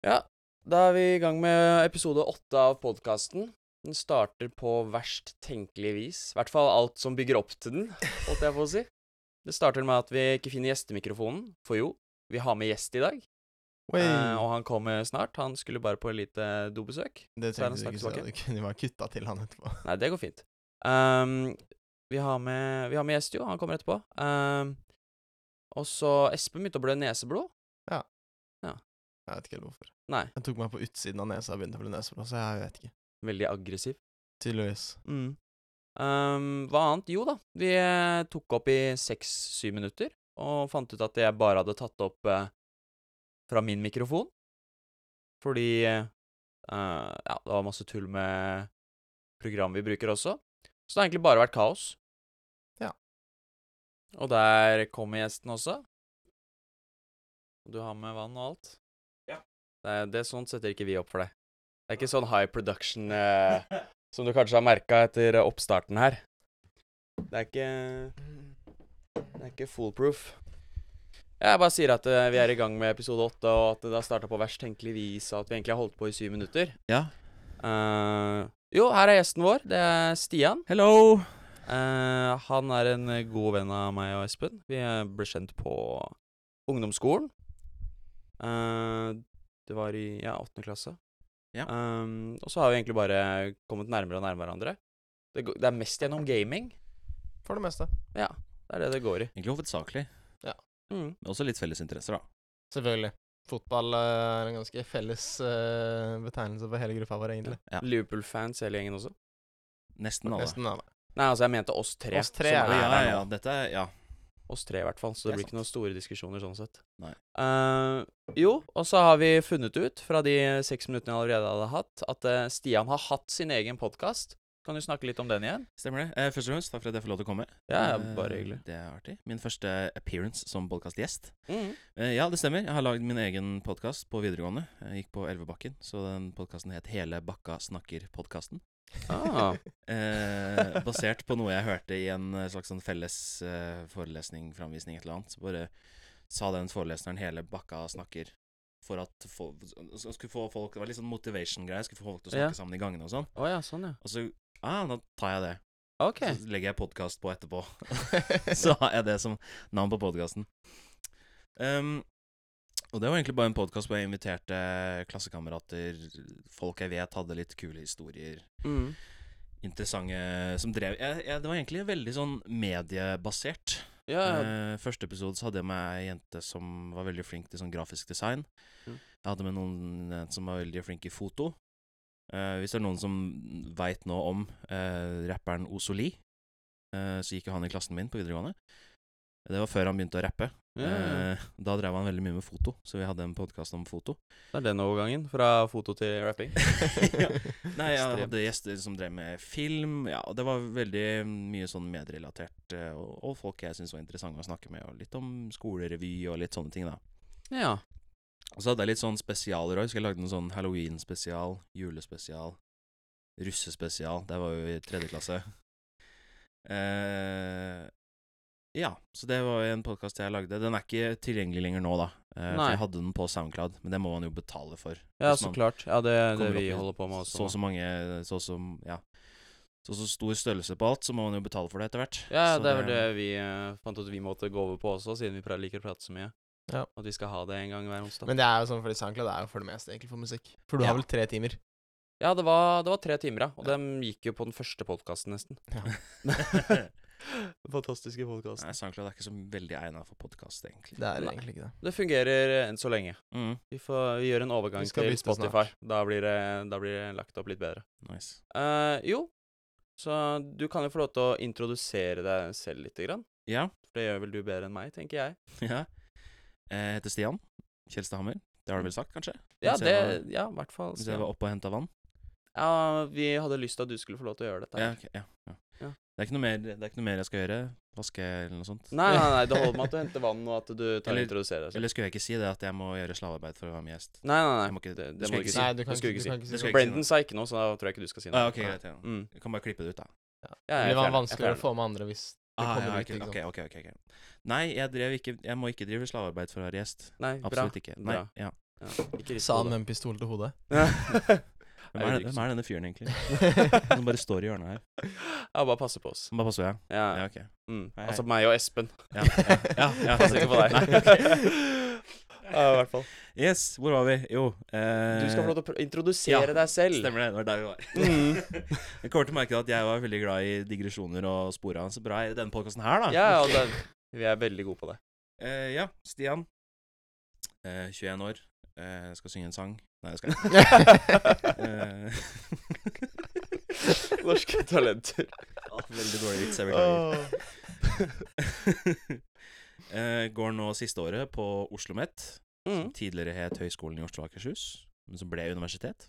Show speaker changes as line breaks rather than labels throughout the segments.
Ja, da er vi i gang med episode åtte av podkasten. Den starter på verst tenkelig vis. I hvert fall alt som bygger opp til den, holdt jeg på å si. Det starter med at vi ikke finner gjestemikrofonen, for jo, vi har med gjest i dag. Eh, og han kommer snart. Han skulle bare på et lite dobesøk.
det
så er han
trengte du ikke, så
snakket tilbake.
du kunne bare kutta til han etterpå.
Nei, det går fint. Ehm, vi, har med, vi har med gjest, jo. Han kommer etterpå. Ehm, og så Espen begynte å blø neseblod.
Jeg vet ikke helt hvorfor.
Nei,
Jeg tok meg på utsiden av nesa og begynte å bli neseblå, så jeg vet ikke.
veldig aggressiv.
Tydeligvis.
Mm. Ehm, hva annet? Jo da, vi eh, tok opp i seks-syv minutter, og fant ut at jeg bare hadde tatt opp eh, fra min mikrofon. Fordi eh, eh, ja, det var masse tull med program vi bruker også. Så det har egentlig bare vært kaos.
Ja.
Og der kommer gjesten også. Du har med vann og alt.
Ja.
Det, er- det Sånt setter ikke vi opp for deg. Det er ikke sånn high production eh, som du kanskje har merka etter eh, oppstarten her. Det er ikke Det er ikke foolproof. Jeg bare sier at eh, vi er i gang med episode åtte, og at det har starta på verst tenkelig vis, og at vi egentlig har holdt på i syv minutter.
Ja.
Eh, jo, her er gjesten vår. Det er Stian.
Hello!
Eh, han er en eh, god venn av meg og Espen. Vi eh, ble kjent på ungdomsskolen. Eh, det var i ja, åttende klasse.
Ja.
Ehm, og så har vi egentlig bare kommet nærmere og nærmere hverandre. Det, gå- det er mest gjennom gaming.
For det meste.
Det er det det går i.
Egentlig hovedsakelig,
Mm.
men også litt felles interesser, da.
Selvfølgelig. Fotball eh, er en ganske felles eh, betegnelse for hele gruppa vår, egentlig.
Ja.
Liverpool-fans hele gjengen også.
Nesten alle.
Nesten alle.
Nei, altså, jeg mente oss tre.
Oss tre,
som
ja,
Ja,
er
ja,
her nå.
ja, dette er Ja.
Oss tre, i hvert fall. Så
Det
det,
er
blir ikke noen store diskusjoner sånn sett.
Nei.
Eh, jo, og så har vi funnet ut fra de seks minuttene jeg allerede hadde hatt, at eh, Stian har hatt sin egen podkast. Kan du snakke litt om den igjen?
Stemmer det. Eh, først og fremst, takk for at jeg får lov til å komme.
Ja,
Eh,
bare hyggelig.
Det er artig. Min første appearance som podkastgjest.
Mm.
Eh, ja, det stemmer. Jeg har lagd min egen podkast på videregående. Jeg gikk på Elvebakken, så den podkasten het Hele Bakka snakker-podkasten.
Ah.
Eh, basert på noe jeg hørte i en eh, slags sånn felles eh, forelesning, framvisning, et eller annet. Så bare sa den foreleseren hele bakka snakker for at fo- så skulle få folk Det var litt sånn motivation-greie. Skulle få folk til å
Ja.
snakke sammen i gangene og sånn.
Å ja, sånn, ja.
Og så ah, da tar jeg det.
OK.
Så legger jeg podkast på etterpå. så har jeg det som navn på podkasten. Um, og det var egentlig bare en podkast hvor jeg inviterte klassekamerater, folk jeg vet hadde litt kule historier
Mm.
interessante som drev jeg, jeg, Det var egentlig veldig sånn mediebasert.
Ja, ja.
Eh, første episode så hadde jeg med ei jente som var veldig flink til sånn grafisk design.
Mm.
Jeg hadde med noen eh, som var veldig flink i foto. Eh, hvis det er noen som veit noe om eh, rapperen Ozoli, eh, så gikk jo han i klassen min på videregående. Det var før han begynte å rappe.
Ja, ja.
Eh, da drev han veldig mye med foto, så vi hadde en podkast om foto.
Det er den overgangen. Fra foto til rapping.
ja. Nei, jeg
Ekstremt.
hadde gjester som drev med film. Ja, og det var veldig mye sånn medierelatert, eh, og, og folk jeg syntes var interessante å snakke med. Og litt om skolerevy og litt sånne ting, da.
Ja.
Og så hadde jeg litt sånn spesialer òg. Så jeg lagde en sånn halloween-spesial, julespesial, russespesial. Det var jo i tredje klasse. Eh, ja, så det var en podkast jeg lagde. Den er ikke tilgjengelig lenger nå, da. Eh,
Nei.
for jeg hadde den på SoundCloud, men det må man jo betale for.
ja,
hvis
så
man-
klart. Ja, det er det
kommer
vi
opp i
holder på med også.
så og så
nå.
mange Så og så ja. Så og så stor størrelse på alt, så må man jo betale for det etter hvert.
Ja,
Så
det er vel det vi eh, fant ut vi måtte gå over på også, siden vi pra- liker å prate så mye.
Ja.
At vi skal ha det en gang hver onsdag.
Men det er jo sånn fordi SoundCloud er jo for det meste egentlig for musikk. For du
Ja.
har vel tre timer?
Ja, det var, det var tre timer, ja. Og dem gikk jo på den første podkasten, nesten. Den fantastiske podkasten.
Nei, SoundCloud er ikke så veldig egnet for podkast, egentlig.
Det er
Nei.
egentlig ikke det.
Det fungerer eh, enn så lenge.
Mm,
Vi, får, vi gjør en overgang
Vi skal
til
bytte snart.
Spotify. Da blir, det, da blir det lagt opp litt bedre.
nice.
Eh, jo, så du kan jo få lov til å introdusere deg selv lite grann.
Ja.
For det gjør vel du bedre enn meg, tenker jeg.
ja. Eh, Jeg heter Stian Kjelstad Hammer. Det har du vel sagt, kanskje?
Ja,
Mens
det
jeg var-
Ja, i hvert fall.
Mens jeg var oppe og henta vann?
Ja, vi hadde lyst til at du skulle få lov til å gjøre dette.
Ja,
her.
ok, ja, ja.
Ja.
Det, er ikke noe mer, det er ikke noe mer jeg skal gjøre? Vaske eller noe sånt?
Nei, nei, nei, det holder med at du henter vann, og at du tar
Eller-
og introduserer deg selv.
Eller skulle jeg ikke si det, at jeg må gjøre slavearbeid for å være med gjest?
Nei, nei, nei.
Jeg må ikke-
det,
du
det
skal
må du
ikke
ikke
si-
si.
Nei, du
Det
kan,
skal vi ikke
ikke, du
si.
kan ikke
Det
si
skal
sånn.
jeg ikke si
Brendan sa ikke noe, så da tror jeg ikke du skal si noe.
Ah, ok, greit. Ja.
Mm.
Du kan bare klippe det ut, da.
Ja,
Det
jeg
blir
fjerner- jeg
vanskeligere
fjerner.
å få med andre hvis det
Ah,
kommer
ja,
ut.
ok,
ikke sant?
ok, ok, ok, ok. Nei, jeg, drev ikke, jeg må ikke drive slavearbeid for å være gjest.
Nei, bra.
Absolutt ikke. Nei,
Bra.
ja.
Ja, ikke
Sa han
det.
med en pistol til hodet.
Hvem er, hvem er denne fyren, egentlig? Som bare står i hjørnet her.
Ja, bare passe på oss.
Som bare passer jeg.
Ja,
Ja, ok.
mm.
Hei, hei.
Altså meg og Espen.
Ja, ja, ja, ja.
Passer ikke på deg.
Nei, ok.
Ja, i hvert fall.
Yes, hvor var vi? Jo eh,
Du skal få lov til å pr- introdusere
ja,
deg selv.
Stemmer det, det var der vi var.
Mm.
Jeg kommer til å merke at jeg var veldig glad i digresjoner og spora. Så bra i denne podkasten her, da.
Ja, og det, vi er veldig gode på det.
Eh, ja, Stian. Eh, 21 år. Eh, skal synge en sang. Nei, det skal Eh, jeg ikke. Eh,
Norske talenter.
ja, Veldig dårlig vits, jeg beklager. eh, går nå siste året på Oslo OsloMet, som
Mm.
tidligere het Høgskolen i Oslo og Akershus, men som ble universitet.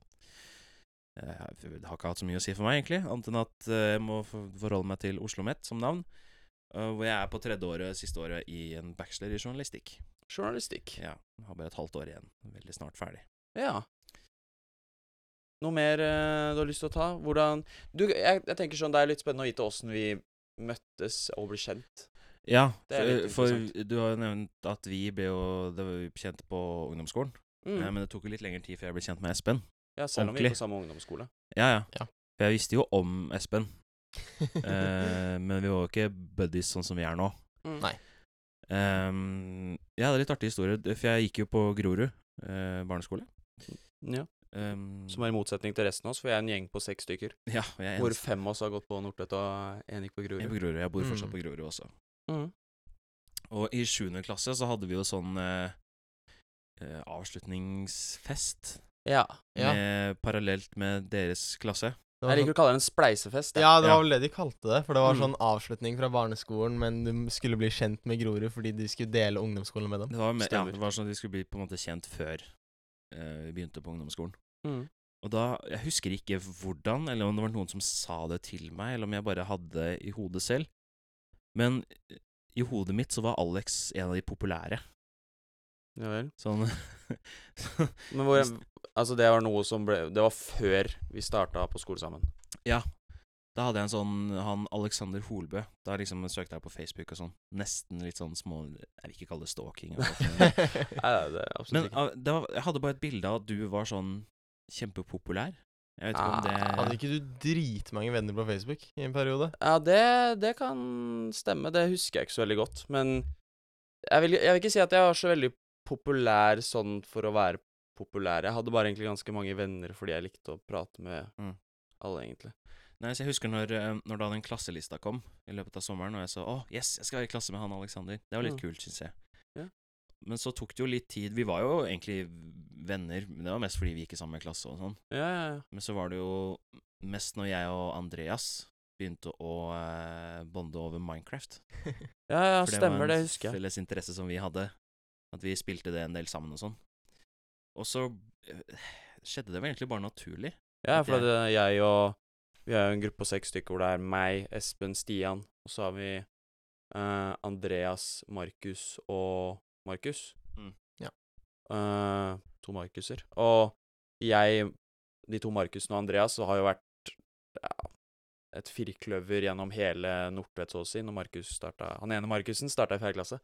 Eh, det har ikke hatt så mye å si for meg, egentlig, annet enn at eh, jeg må for- forholde meg til Oslo OsloMet som navn. eh, Hvor jeg er på tredje året, siste året, i en bachelor i journalistikk.
Journalistikk.
Ja, har bare et halvt år igjen. Veldig snart ferdig.
Ja. Noe mer eh, du har lyst til å ta? Hvordan du, jeg, jeg tenker sånn, Det er litt spennende å vite åssen vi møttes og ble kjent.
Ja,
Det er litt
for,
interessant.
for du har jo nevnt at vi ble jo det var jo kjent på ungdomsskolen. Eh,
Mm.
men det tok jo litt lengre tid før jeg ble kjent med Espen.
Ja, selv om vi
ordentlig.
gikk på samme ungdomsskole.
Ja, ja.
Ja.
For jeg visste jo om Espen, eh, men vi var jo ikke buddies sånn som vi er nå.
Mm.
Nei.
Ehm, ja, det er litt artig historie, det- for jeg gikk jo på Grorud eh, barneskole.
Ja.
Ehm,
Som er i motsetning til resten av oss, for vi er en gjeng på seks stykker.
ja, og jeg er
Hvor
eneste-
fem av oss har gått på Nordtvedt og én gikk på
jeg er
Grorud.
på Grorud. Jeg bor fortsatt
Mm.
på Grorud også.
Mm.
Og i sjuende klasse så hadde vi jo sånn eh, eh, avslutningsfest
Ja.
ja,
med, parallelt med deres klasse.
det var
Jeg
sånn-
liker å kalle det en spleisefest. jeg.
Ja, det
Ja.
var vel det de kalte det. For det var
Mm.
sånn avslutning fra barneskolen, men du skulle bli kjent med Grorud fordi de skulle dele ungdomsskolen med dem.
Det var, med, ja,
Stemmer.
det var sånn at vi skulle bli på en måte kjent før eh, vi begynte på ungdomsskolen.
Mm.
Og da, Jeg husker ikke hvordan, eller om det var noen som sa det til meg, eller om jeg bare hadde det i hodet selv. Men eh, i hodet mitt så var Alex en av de populære.
Ja vel.
Sånn
Men hvor, altså, det var noe som ble Det var før vi starta på skole sammen.
Da hadde jeg en sånn Han Alexander Holbø. Da liksom søkte jeg på Facebook og sånn. Nesten litt sånn små Jeg vil ikke kalle det stalking. eller
Nei,
hva faen.
nei, det er absolutt
Men
ikke.
ah, det var, jeg hadde bare et bilde av at du var sånn kjempepopulær. Jeg vet ikke om det
Ah,
Hadde ikke du dritmange venner på Facebook i en periode?
Ja, det, det kan stemme. Det husker jeg ikke så veldig godt. Men jeg vil, jeg vil ikke si at jeg var så veldig populær sånn for å være populær. Jeg hadde bare egentlig ganske mange venner fordi jeg likte å prate med
Mm.
alle, egentlig.
Nei, så Jeg husker når, eh, når da den klasselista kom i løpet av sommeren, og jeg sa åh, yes, jeg skal være i klasse med han Alexander. Det var litt
Mm.
kult, syns jeg.
Ja.
Men så tok det jo litt tid. Vi var jo egentlig venner, men det var mest fordi vi gikk i samme klasse og sånn.
Ja, ja, ja.
Men så var det jo mest når jeg og Andreas begynte å eh, bonde over Minecraft.
ja, ja
For
stemmer, det
var en
husker jeg.
felles interesse som vi hadde. At vi spilte det en del sammen og sånn. Og så eh, skjedde det vel egentlig bare naturlig.
Ja,
at
for
jeg-
det, jeg og Vi er jo en gruppe på seks stykker hvor det er meg, Espen, Stian, og så har vi eh, Andreas, Markus og Markus.
Mm.
Ja.
Eh, to Markuser. Og jeg, de to Markusene og Andreas, har jo vært ja, et firkløver gjennom hele Nordtvedt, så å si, når Markus starta Han ene Markusen starta i fjerde klasse.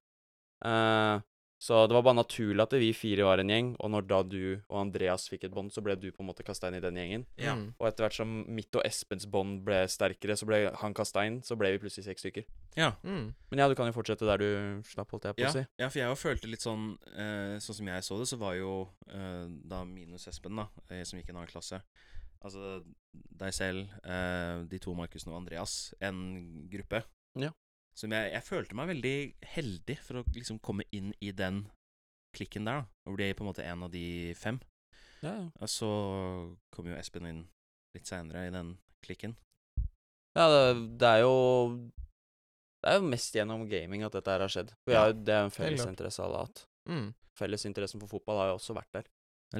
Eh, så det var bare naturlig at vi fire var en gjeng, og når da du og Andreas fikk et bånd, så ble du på en måte kasta inn i den gjengen.
Ja.
Mm.
Og etter hvert som mitt og Espens bånd ble sterkere, så ble han kasta inn, så ble vi plutselig seks stykker.
Ja.
Mm.
Men ja, du kan jo fortsette der du slapp, holdt jeg på
Ja,
å si.
ja, for jeg jo følte litt sånn eh, Sånn som jeg så det, så var jo eh, da minus Espen, da, eh, som gikk i en annen klasse Altså deg selv, eh, de to Markusene og Andreas, en gruppe.
Ja.
Som jeg, jeg følte meg veldig heldig for å liksom komme inn i den klikken der, da. Og bli på en måte en av de fem.
Ja, ja.
Og så kom jo Espen inn litt seinere i den klikken.
ja det, det er jo Det er jo mest gjennom gaming at dette her har skjedd. For vi
Ja,
har jo- det er jo en
helt
felles
klart.
interesse alle har hatt.
Mm.
Fellesinteressen for fotball har jo også vært der.
Det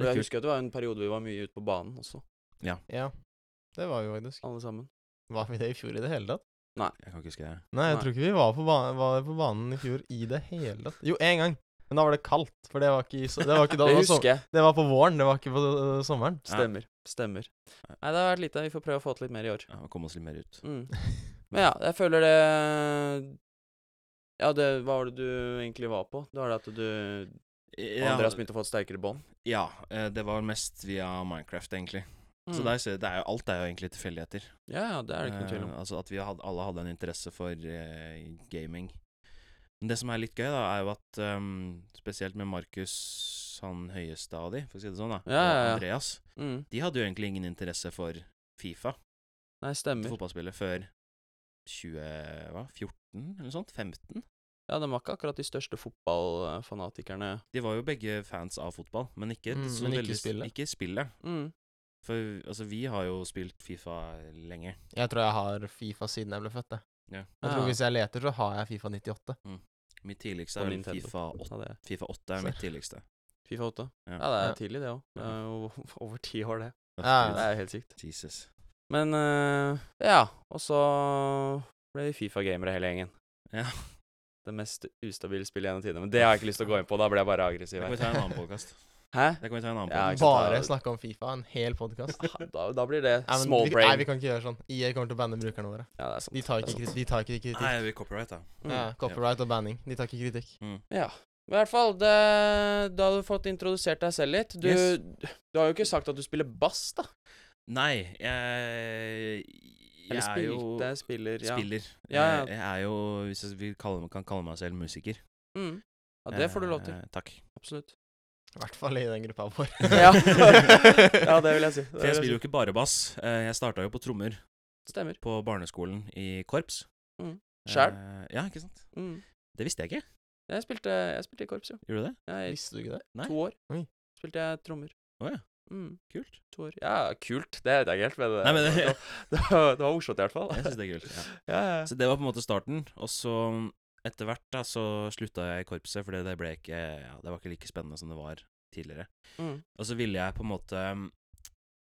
Og jeg
er litt kult.
husker at det var en periode vi var mye ute på banen også,
Ja. Det var vi faktisk.
alle sammen.
Var vi det i fjor i det hele tatt?
Jeg kan ikke huske det.
Nei, jeg
Nei.
tror ikke vi var på, ba var på banen i fjor i det hele tatt. Jo, én gang. Men da var det kaldt. For det var ikke, i so det var ikke da
Det
det var, som
husker jeg.
det var på våren, det var ikke på øh, sommeren.
Ja.
Stemmer. Stemmer.
Ja.
Nei, det har vært lite. Vi får prøve å få til litt mer i år.
Ja, Komme oss litt mer ut.
Mm. Men ja, jeg føler det Ja, det, hva var det du egentlig var på? Det var det at du Og
Ja,
Andreas begynte å få et sterkere bånd.
ja, eh, det var mest via Minecraft, egentlig. Så der, ser- det er jo, alt er jo egentlig tilfeldigheter.
Mm. Ja, ja, det er det ikke noe tvil om.
Eh, altså at vi hadde, alle hadde en interesse for eh, gaming. Men det som er litt gøy, da, er jo at ehm, spesielt med Markus, han høyeste av de, for å si det sånn, da,
Ja, ja, ja.
og Andreas,
Mm.
de hadde jo egentlig ingen interesse for Fifa,
Nei, stemmer.
fotballspillet, før 20... hva? 14? Eller sånt? 15?
Ja, de var ikke akkurat de største fotballfanatikerne.
De var jo begge fans av fotball, men ikke,
Mm,
så
men ikke
veldig,
spillet.
Ikke spillet.
Mm.
For altså, vi har jo spilt Fifa lenge.
Jeg tror jeg har Fifa siden jeg ble født. Jeg,
Ja.
Ja.
jeg tror Hvis jeg leter, så har jeg Fifa 98.
Mitt tidligste
På
er vel
Nintendo.
Fifa 8.
Ja, det.
Fifa 8 er
Så-
mitt tidligste.
Fifa 8.
Ja.
Ja, det er
Ja.
tidlig, det òg. Det er jo over ti år, det.
Ja,
Det er helt sykt.
Jesus.
Men eh, ja, og så ble vi Fifa-gamere hele gjengen.
Ja.
Det mest ustabile spillet gjennom tidene. Men det har jeg ikke lyst til å gå inn på, da blir jeg bare
Det
aggressiv.
kan vi
her.
ta i en annen podcast
Hæ?
Det kan vi ta i en annen
Ja,
podcast
ikke sant,
Bare
da-
snakke om Fifa, en hel podkast.
Ah, Da, da blir det
Nei, men
small
vi, nei,
brain.
vi kan ikke gjøre sånn. EA kommer til å banne brukerne våre.
Ja, det er sant.
De tar
det er
ikke,
sant.
kritikk, de tar ikke kritikk.
Nei, vi copyright, da. Mm.
Mm.
Ja, copyright og banning. De tar ikke kritikk.
Men I hvert fall, det, da har du fått introdusert deg selv litt. Du,
Yes.
du har jo ikke sagt at du spiller bass, da.
Nei, jeg Jeg
Eller
er jo
spilte, spiller, ja.
spiller.
Ja, ja.
Jeg, jeg er jo, hvis jeg vil kalle, kan kalle meg selv musiker
Mm. Ja, det får du lov til.
Eh, takk.
Absolutt.
I hvert fall i den gruppa vår.
Ja. Ja, det vil jeg si.
For jeg spiller jo ikke bare bass. Eh, Jeg starta jo på trommer
Stemmer.
på barneskolen i korps.
Mm. Skjær.
Eh, Ja, ikke sant.
Mm.
Det visste jeg ikke.
Jeg spilte, jeg spilte i korps, jo.
Gjorde du det?
Jeg,
Visste du ikke det?
Nei.
to år
Oi.
spilte jeg trommer.
Å ja.
Mm,
Kult.
to år. Ja, kult. Det vet jeg ikke helt, men, det-
Nei, men det-
det, det, var- det var morsomt i hvert fall.
Jeg syns det er kult. Ja.
Ja, ja.
Så det var på en måte starten. Og så etter hvert da, så slutta jeg i korpset, fordi det ble ikke ja, Det var ikke like spennende som det var tidligere.
Mm.
Og så ville jeg på en måte mm,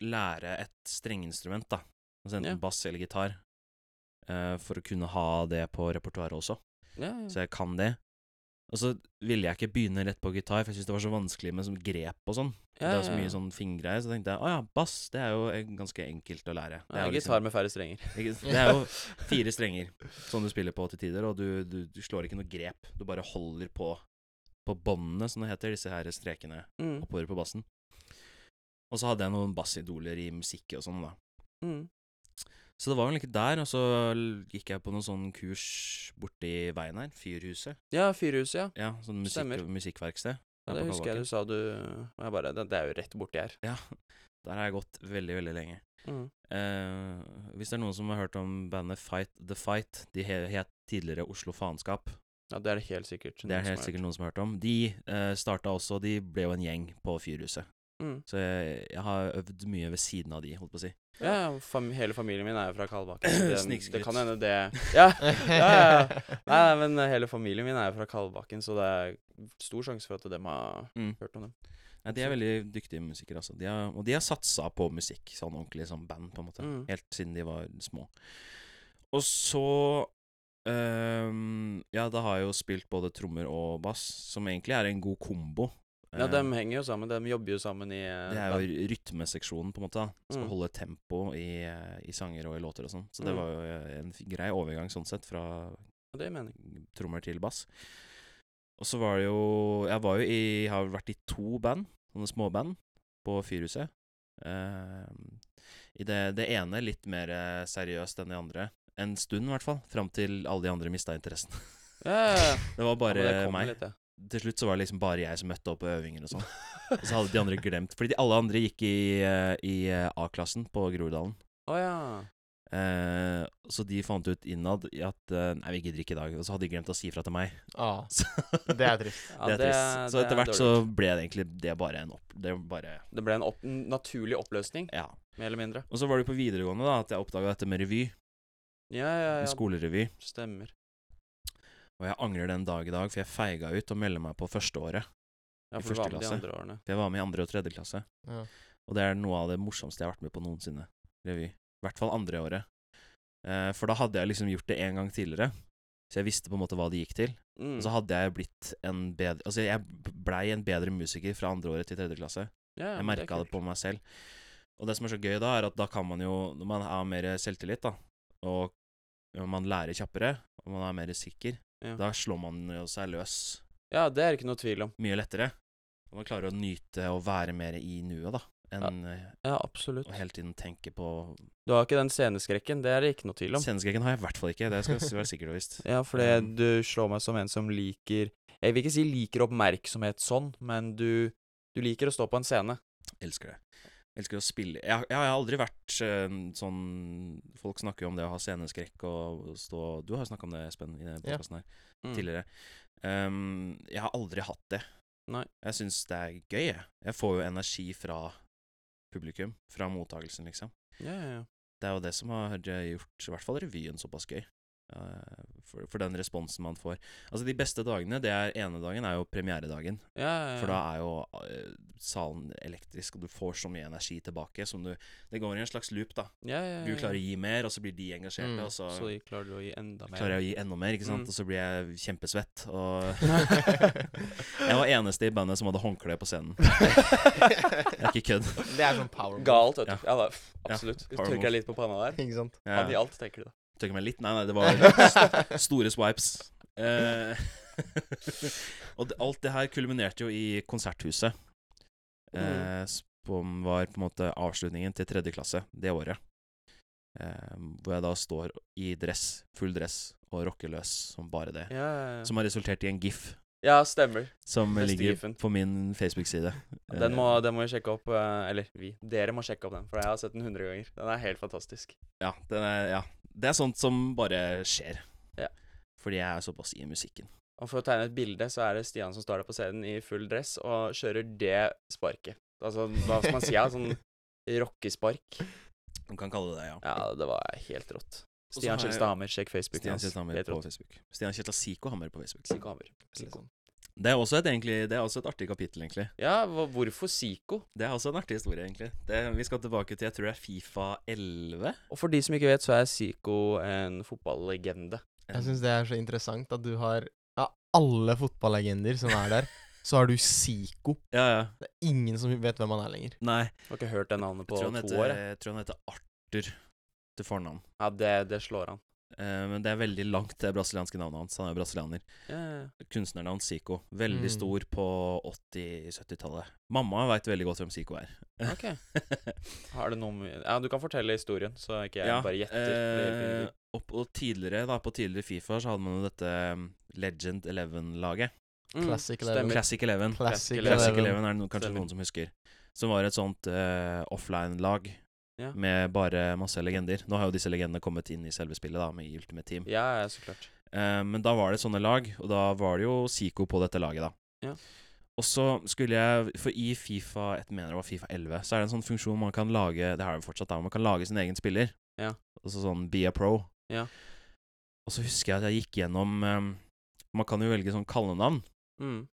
lære et strengeinstrument, da. Altså
Ja.
enten bass eller gitar. eh, for å kunne ha det på repertoaret også.
ja, ja.
Så jeg kan det. Og så ville jeg ikke begynne rett på gitar, for jeg syntes det var så vanskelig med sånn grep og sånn.
ja,
Det er
ja,
så
ja.
mye sånn fingergreier. Så tenkte jeg å ja, bass, det er jo eh, ganske enkelt å lære. Det
ja,
er jo liksom-
Gitar med færre strenger.
ikke- Det er jo fire sånn- strenger som du spiller på til tider, og du, du, du slår ikke noe grep. Du bare holder på på båndene, som det heter, disse her strekene
Mm,
oppover på bassen. Og så hadde jeg noen bassidoler i musikk og sånn, da.
mm.
Så det var vel ikke der, og så l- gikk jeg på noen sånn kurs borti veien her, Fyrhuset.
Ja, Fyrhuset, ja.
Ja, sånn musikk,
Stemmer.
musikkverksted.
ja.
her
Det
på
husker jeg du
Kalbakken.
sa du og jeg bare, det, det er jo rett borti her.
Ja, der har jeg gått veldig, veldig lenge.
Mm.
Eh, hvis det er noen som har hørt om bandet Fight The Fight, de he- het tidligere Oslo Faenskap.
Ja, det er det helt sikkert.
Det
noen
er
som
helt
har
sikkert noen som har hørt om. De uh, starta også, de ble jo en gjeng på Fyrhuset.
hørt. Mm.
Så jeg, jeg har øvd mye ved siden av de, holdt på å si.
Ja, ja, fam hele familien min er jo fra Kalbakken. så Det, det
Snikskryt.
kan hende det Ja, ja, ja. Nei, nei, men eh, hele familien min er jo fra Kalbakken, så det er stor sjanse for at dem har
Mm.
hørt om dem.
Nei, de er veldig dyktige musikere, altså. De har, og de har satsa på musikk, sånn ordentlig som band, på en måte.
Mm.
Helt siden de var små. Og så ehm, Ja, da har jeg jo spilt både trommer og bass, som egentlig er en god kombo.
Ja,
Eh,
dem henger jo sammen. Dem jobber jo sammen i eh,
det er
band.
jo rytmeseksjonen, på en måte. da. Skal
Mm.
holde tempo i, eh, i sanger og i låter og sånn. Så det
Mm.
var jo eh, en f- grei overgang sånn sett fra
Ja, Det gir mening.
trommer til bass. Og så var det jo Jeg var jo i, har vel vært i to band, sånne småband, på Fyrhuset. Eh, I det, det ene litt mer eh, seriøst enn det andre. En stund, i hvert fall. Fram til alle de andre mista interessen.
Ja, ja, ja.
Det var bare
Ja, men det kommer
meg.
Litt, ja.
Til slutt så var det liksom bare jeg som møtte opp på øvinger og sånn. Og så hadde de andre glemt. Fordi de, alle andre gikk i, eh, i eh, A-klassen på Groruddalen.
Å ja.
Eh, så de fant ut innad i at eh, Nei, vi gidder ikke i dag. Og så hadde de glemt å si ifra til meg.
Ah,
Så
det er trist.
ja.
det er trist. Så
det er
etter hvert så
dårlig.
ble det egentlig det bare en opp... Det bare
Det ble en opp en naturlig oppløsning,
Ja.
mer eller mindre.
Og så var det på videregående da at jeg oppdaga dette med revy.
Ja, ja, ja.
med Skolerevy.
Stemmer.
Og jeg angrer den dag i dag, for jeg feiga ut og meldte meg på førsteåret.
Ja,
I
for du var med de
første
andre årene.
For jeg var med i andre og tredje klasse.
Ja.
Og det er noe av det morsomste jeg har vært med på noensinne. Revy. I hvert fall andre året. Eh, for da hadde jeg liksom gjort det en gang tidligere. Så jeg visste på en måte hva det gikk til.
Mm.
Og så hadde jeg blitt en bedre Altså, jeg blei en bedre musiker fra andre året til tredje klasse.
Ja, ja,
Jeg
men
merka
er
det, på
kult.
meg selv. Og det som er så gøy da, er at da kan man jo, når man har mer selvtillit, da, og og man lærer kjappere, og man er mer sikker,
Ja.
da slår man jo seg løs
Ja, det er ikke noe tvil om.
mye lettere. Og man klarer å nyte og være mer i nuet, da, enn eh,
Ja, absolutt.
å hele tiden tenke på
Du har ikke den sceneskrekken, det er det ikke noe tvil om.
Sceneskrekken har jeg i hvert fall ikke, det skal jeg være sikkert og visst.
Ja, fordi
Um,
du slår meg som en som liker Jeg vil ikke si liker oppmerksomhet sånn, men du, du liker å stå på en scene.
Elsker det. Elsker å spille Jeg, har- jeg har aldri vært eh, sånn Folk snakker jo om det å ha sceneskrekk og stå Du har snakka om det, Espen, i denne
Ja.
podkasten her
Mm.
tidligere. Um, jeg har aldri hatt det.
Nei.
Jeg syns det er gøy, jeg. Jeg får jo energi fra publikum. Fra mottagelsen, liksom.
Ja, ja, ja.
Det er jo det som har eh, gjort i hvert fall revyen såpass gøy. eh, For, for den responsen man får. Altså De beste dagene, det er ene dagen, er jo premieredagen.
ja, ja, ja.
For da er jo eh, salen elektrisk, og du får så mye energi tilbake som du Det går i en slags loop, da.
ja, ja, ja,
Du klarer å gi mer, og så blir de engasjerte,
Mm,
og så,
Så de klarer du å gi enda mer.
klarer jeg å gi enda mer, ikke sant.
Mm.
Og så blir jeg kjempesvett, og Jeg var eneste i bandet som hadde håndkle på scenen. Jeg er ikke kødd.
Det er sånn power move,
Galt, vet du.
Ja.
Ja, da, f- absolutt.
Power
Tørker
move.
deg litt på panna der.
Ikke sant?
Jeg
Han i alt, tenker du da.
tørker meg litt. Nei, nei, det var Store swipes. Eh, og det, alt det her kulminerte jo i Konserthuset,
Mm.
eh, som var på en måte avslutningen til tredje klasse det året. Eh, hvor jeg da står i dress, full dress, og rocker løs som bare det.
Ja, ja, ja.
Som har resultert i en gif
ja stemmer.
som
Beste
ligger
gifen.
på min Facebook-side.
Den
Eh,
må, den må vi sjekke opp. eh, Eller vi. Dere må sjekke opp den, for jeg har sett den 100 ganger. Den er helt fantastisk.
Ja, den er, ja. Det er sånt som bare skjer.
Ja.
Fordi jeg er såpass i musikken.
Og for å tegne et bilde, så er det Stian som står der på scenen i full dress og kjører det sparket. Altså, hva skal man si? Ja, sånn rockespark.
Man kan kalle det det, ja.
Ja, det var helt rått.
så
Stian
har jeg-
Kjelstad Hammer, sjekk Facebooken
Stian
hans.
Kjetil Hammer
Helt
på
rått.
Facebook. Stian Kjetil Siko Hammer på Facebook.
Siko Hammer.
sånn.
Siko.
Det er også et, egentlig, det er også et artig kapittel, egentlig.
Ja, hva, hvorfor Siko?
Det er også en artig historie, egentlig. Det, vi skal tilbake til jeg tror det er Fifa 11.
Og for de som ikke vet, så er Siko en fotballegende.
Jeg syns det er så interessant at du har Av alle fotballegender som er der, så har du Zico.
Ja, ja.
Det er ingen som vet hvem han er lenger.
Nei,
Har ikke hørt det navnet
jeg
på
tror han
to
heter,
år. jeg.
jeg tror han heter Arthur til fornavn.
Ja, det, det slår han.
Eh, men det er veldig langt, det brasilianske navnet hans. Han er jo brasilianer.
Ja, ja, ja.
Kunstnernavn Zico. Veldig
Mm.
stor på 80-70-tallet. Mamma veit veldig godt hvem Zico er.
Ok. Har det noe med Ja, du kan fortelle historien, så ikke jeg bare gjetter.
eh, opp, og tidligere, da, på tidligere Fifa så hadde man jo dette um, Legend Eleven-laget.
Mm,
Classic Eleven.
stemmer.
Classic Eleven.
Classic
Classic
Mm. Classic
Eleven.
Eleven er det no kanskje
Stemmer.
noen som husker. Som var et sånt eh, offline-lag
Ja.
med bare masse legender. Nå har jo disse legendene kommet inn i selve spillet, da, med i Ultimate Team.
Ja, ja, så klart.
Eh, men da var det sånne lag, og da var det jo Zico på dette laget, da.
Ja.
Og så skulle jeg For i Fifa jeg mener det var Fifa 11, så er det en sånn funksjon man kan lage Det har jo fortsatt da, man kan lage sin egen spiller.
Ja.
Altså sånn be a pro.
Ja.
Og så husker jeg at jeg gikk gjennom eh, Man kan jo velge sånn kallenavn,
Mm.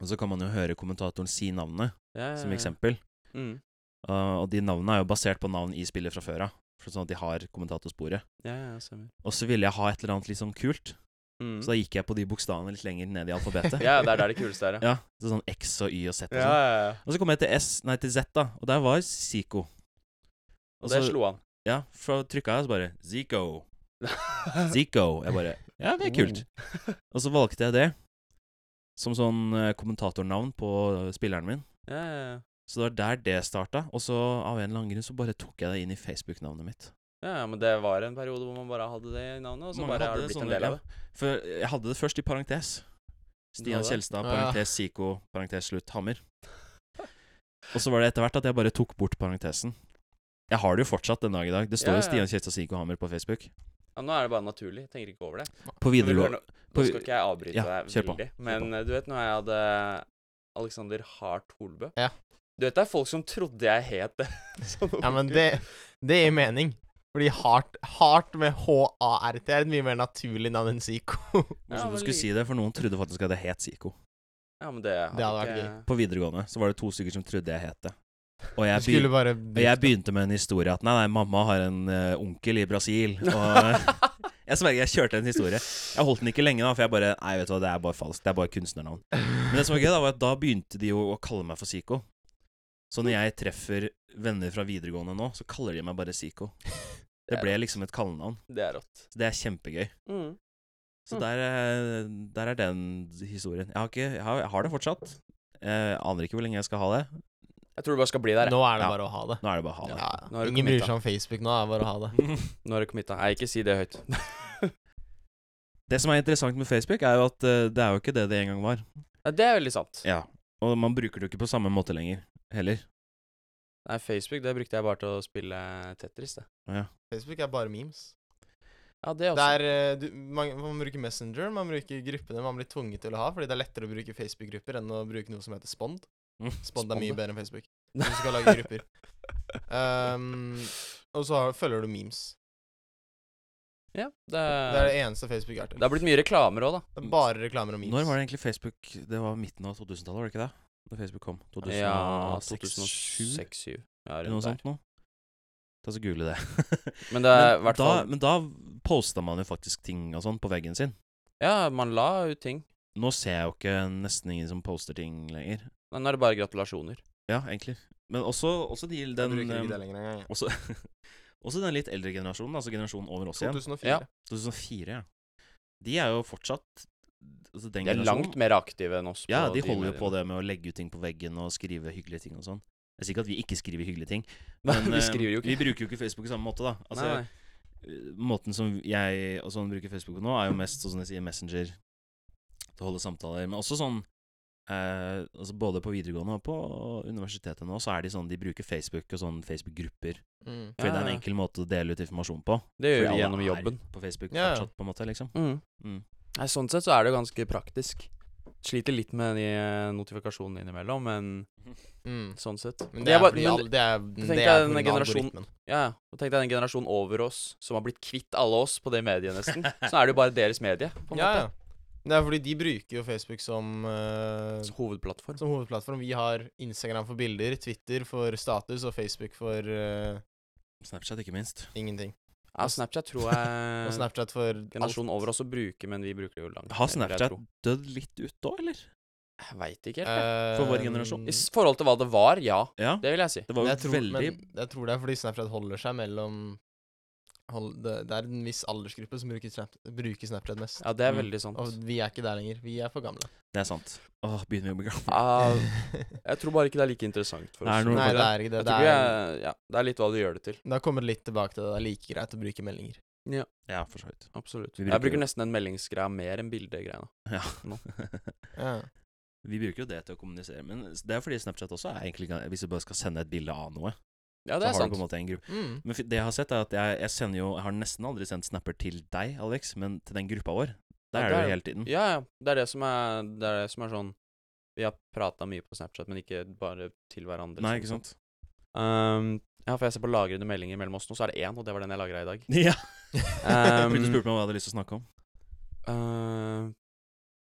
og så kan man jo høre kommentatoren si navnet,
Ja, ja,
som
ja.
eksempel.
Mm.
Uh, og de navnene er jo basert på navn i spillet fra før av, for sånn at de har kommentatorsporet.
Ja, ja, stemmer.
Og så ville jeg ha et eller annet litt sånn kult,
Mm.
så da gikk jeg på de bokstavene litt lenger ned i alfabetet.
Ja, det er der det kuleste er, ja.
ja, så sånn X og Y og Z og
Ja,
sånn.
ja, ja.
Og så kom jeg til S, nei til Z, da, og der var Zico.
Og det slo han.
Ja, for da trykka jeg, og så bare Zico. Zico. Jeg bare Ja, det er kult.
Mm.
Og så valgte jeg det som sånn eh, kommentatornavn på eh, spilleren min.
Ja, ja, ja.
Så det var der det starta, og så av en eller annen grunn så bare tok jeg det inn i Facebook-navnet mitt.
Ja, ja, men det var en periode hvor man bare hadde det i navnet, og så
Mange
bare har
hadde
det blitt
sånne,
en del av
ja.
det.
For jeg hadde det først i parentes. Stian
hadde det?
Kjelstad,
Å, ja.
parentes Zico, parentes slutt, Hammer. Og så var det etter hvert at jeg bare tok bort parentesen. Jeg har det jo fortsatt den dag i dag. Det står
Ja,
jo
ja.
Stian Kjelstad Zico Hammer på Facebook.
Ja, nå er det bare naturlig. Jeg tenker ikke over det.
På
Men vi går
videregående
nå-
på
Nå
vi-
skal ikke jeg avbryte
Ja,
deg
kjør på,
veldig,
kjør
men eh, du vet når jeg hadde Alexander Hart Holbø
Ja.
Du vet det er folk som trodde jeg het det. som
Ja,
ung.
men det, det gir mening. Fordi Hart, Hart med H-A-R-T er et mye mer naturlig navn enn Zico.
Ja,
Morsomt
men
du skulle
like-
si det, for noen trodde faktisk at jeg het Zico.
Ja, men det hadde,
Det hadde vært
ikke...
På videregående så var det to stykker som trodde jeg het det. Og
Du
jeg, begy
skulle bare
og jeg begynte med en historie at nei, nei, mamma har en eh, onkel i Brasil. Og jeg sverger, jeg kjørte en historie. Jeg holdt den ikke lenge, da, for jeg bare Nei, vet du hva, det er bare falskt. Det er bare kunstnernavn. Men det som var gøy, da, var at da begynte de jo å kalle meg for Zico. Så når jeg treffer venner fra videregående nå, så kaller de meg bare Zico. Det ble liksom et kallenavn.
Det er rått.
Så det er kjempegøy.
Mm.
Så der, eh, der er den historien. Jeg har, ikke, jeg har, jeg har det fortsatt. Eh, aner ikke hvor lenge jeg skal ha det.
Jeg tror du bare skal bli der. jeg.
Nå er det
Ja.
bare å ha det.
Nå er det bare å ha det.
Ja,
Nå har du
Ingen
kommet,
bryr seg om Facebook nå, det er bare å ha det.
Nå har du committa. Nei, ikke si det høyt.
Det som er interessant med Facebook, er jo at eh, det er jo ikke det det en gang var.
Nei, det er veldig sant.
Ja. Og man bruker det jo ikke på samme måte lenger, heller.
Nei, Facebook det brukte jeg bare til å spille Tetris, det.
Facebook er bare memes.
Ja, det
Det
også.
er, eh, du, man, man bruker Messenger, man bruker gruppene man blir tvunget til å ha, fordi det er lettere å bruke Facebook-grupper enn å bruke noe som heter Spond.
Mm,
Spond er mye bedre enn Facebook. Hvis du skal lage grupper. Um, og så har, følger du memes.
Ja, det
Det er
er
det eneste Facebook er
Eh.
til.
Det har blitt mye reklamer òg, da.
Det er bare reklamer og memes.
Når var det egentlig Facebook Det var midten av 2000-tallet, var det ikke det? Når Facebook kom? 2006,
Ja,
2007?
2006-2007. Ja,
Eller noe
rundt der.
sånt noe? Ta så google det.
Men det er i
men,
hvert
da,
fall
men da posta man jo faktisk ting og sånn på veggen sin.
Ja, man la ut ting.
Nå ser jeg jo ikke nesten ingen som poster ting lenger.
Men nå er det bare gratulasjoner.
Ja, egentlig. Men også, også de,
Jeg
den
bruker ikke
um,
em,
det lenger engang. jeg.
også, også den litt eldre generasjonen, altså generasjonen over oss igjen.
2004.
Ja.
2004, ja. De er jo fortsatt altså
De
den
er
generasjonen-
langt mer aktive enn oss.
Ja,
på
de
de
holder jo
mediene.
på det med å legge ut ting på veggen og skrive hyggelige ting og sånn. Jeg sier ikke at vi ikke skriver hyggelige ting,
Nei,
men
vi
eh,
skriver jo ikke.
vi bruker jo ikke Facebook på samme måte, da. Altså,
nei, nei.
eh, Måten som jeg og sånn bruker Facebook på nå, er jo mest sånn som jeg sier Messenger til å holde samtaler. Men også sånn eh, altså Både på videregående og på universitetet nå, så er de sånn De bruker Facebook og sånn Facebook-grupper.
Mm.
Fordi
Ja,
det er
ja.
en enkel måte å dele ut informasjon på.
Det gjør
Fordi
vi
alle
gjennom
er
jobben.
På Facebook
Ja, ja.
fortsatt, på en måte, liksom.
Mm.
Mm.
Nei, sånn sett så er det jo ganske praktisk. Sliter litt med de eh, notifikasjonene innimellom, men
Mm.
sånn sett. Det
Men det
er
er
bare-
fordi
men-
alle- det er,
tenker
det
jeg
er
den
pga.
generasjonen-
algoritmen.
Ja, ja. Og tenk deg den generasjonen over oss som har blitt kvitt alle oss på det mediet, nesten. Så er det jo bare deres medie, på en
Ja,
måte.
ja. Det er fordi de bruker jo Facebook som eh,
Som hovedplattform.
som hovedplattform. Vi har Instagram for bilder, Twitter for status og Facebook for eh,
Snapchat, ikke minst.
ingenting.
Ja, Snapchat tror
Og
jeg
Snapchat for alt.
generasjonen over oss å bruke, men vi bruker det jo langt.
Har
mer, vil jeg
Snapchat
tro.
dødd litt ut da, eller?
Jeg veit ikke helt. jeg.
For
For vår
I
generasjon.
s- forhold til hva det var, ja.
Ja.
Det vil jeg si.
Det var jo
Eh, jeg tror,
veldig
men jeg tror det er fordi Snapchat holder seg mellom hold, det, det er en viss aldersgruppe som bruker, Snap, bruker Snapchat mest.
Ja, det er
Mm.
veldig sant.
Og vi er ikke der lenger. Vi er for gamle.
Det er sant. Åh, begynner vi å bli
Ja,
gamle.
Ah, jeg tror bare ikke det er like interessant for
Det er
oss.
noe-
Nei,
for
det er ikke det.
Jeg
Det,
tror vi
er,
er, ja, det er litt hva du gjør det til.
det har kommet litt tilbake til det. Det er like greit å bruke meldinger.
Ja, for så vidt.
Absolutt.
Vi
jeg
bruker
bruker
jo-
nesten den meldingsgreia mer enn bildegreia. nå.
Ja.
Nå.
Ja.
vi bruker jo det til å kommunisere, men det er fordi Snapchat også er egentlig ga- Hvis du bare skal sende et bilde av noe,
Ja,
så
det
har
er
du på en
sant.
måte en gruppe.
Mm.
Men fi- det jeg har sett, er at jeg, jeg sender jo Jeg har nesten aldri sendt snapper til deg, Alex, men til den gruppa vår. Der
Ja,
er det jo
der-
hele tiden.
Ja, ja. Det er det som er, det er, det som er sånn Vi har prata mye på Snapchat, men ikke bare til hverandre.
Nei,
sånn
ikke sant?
sett. Um, ja, for jeg ser på lagrede meldinger mellom oss nå, så er det én, og det var den jeg lagra i dag.
Ja. Jeg
Um,
begynte å spørre meg om hva jeg hadde lyst til å snakke om.
uh,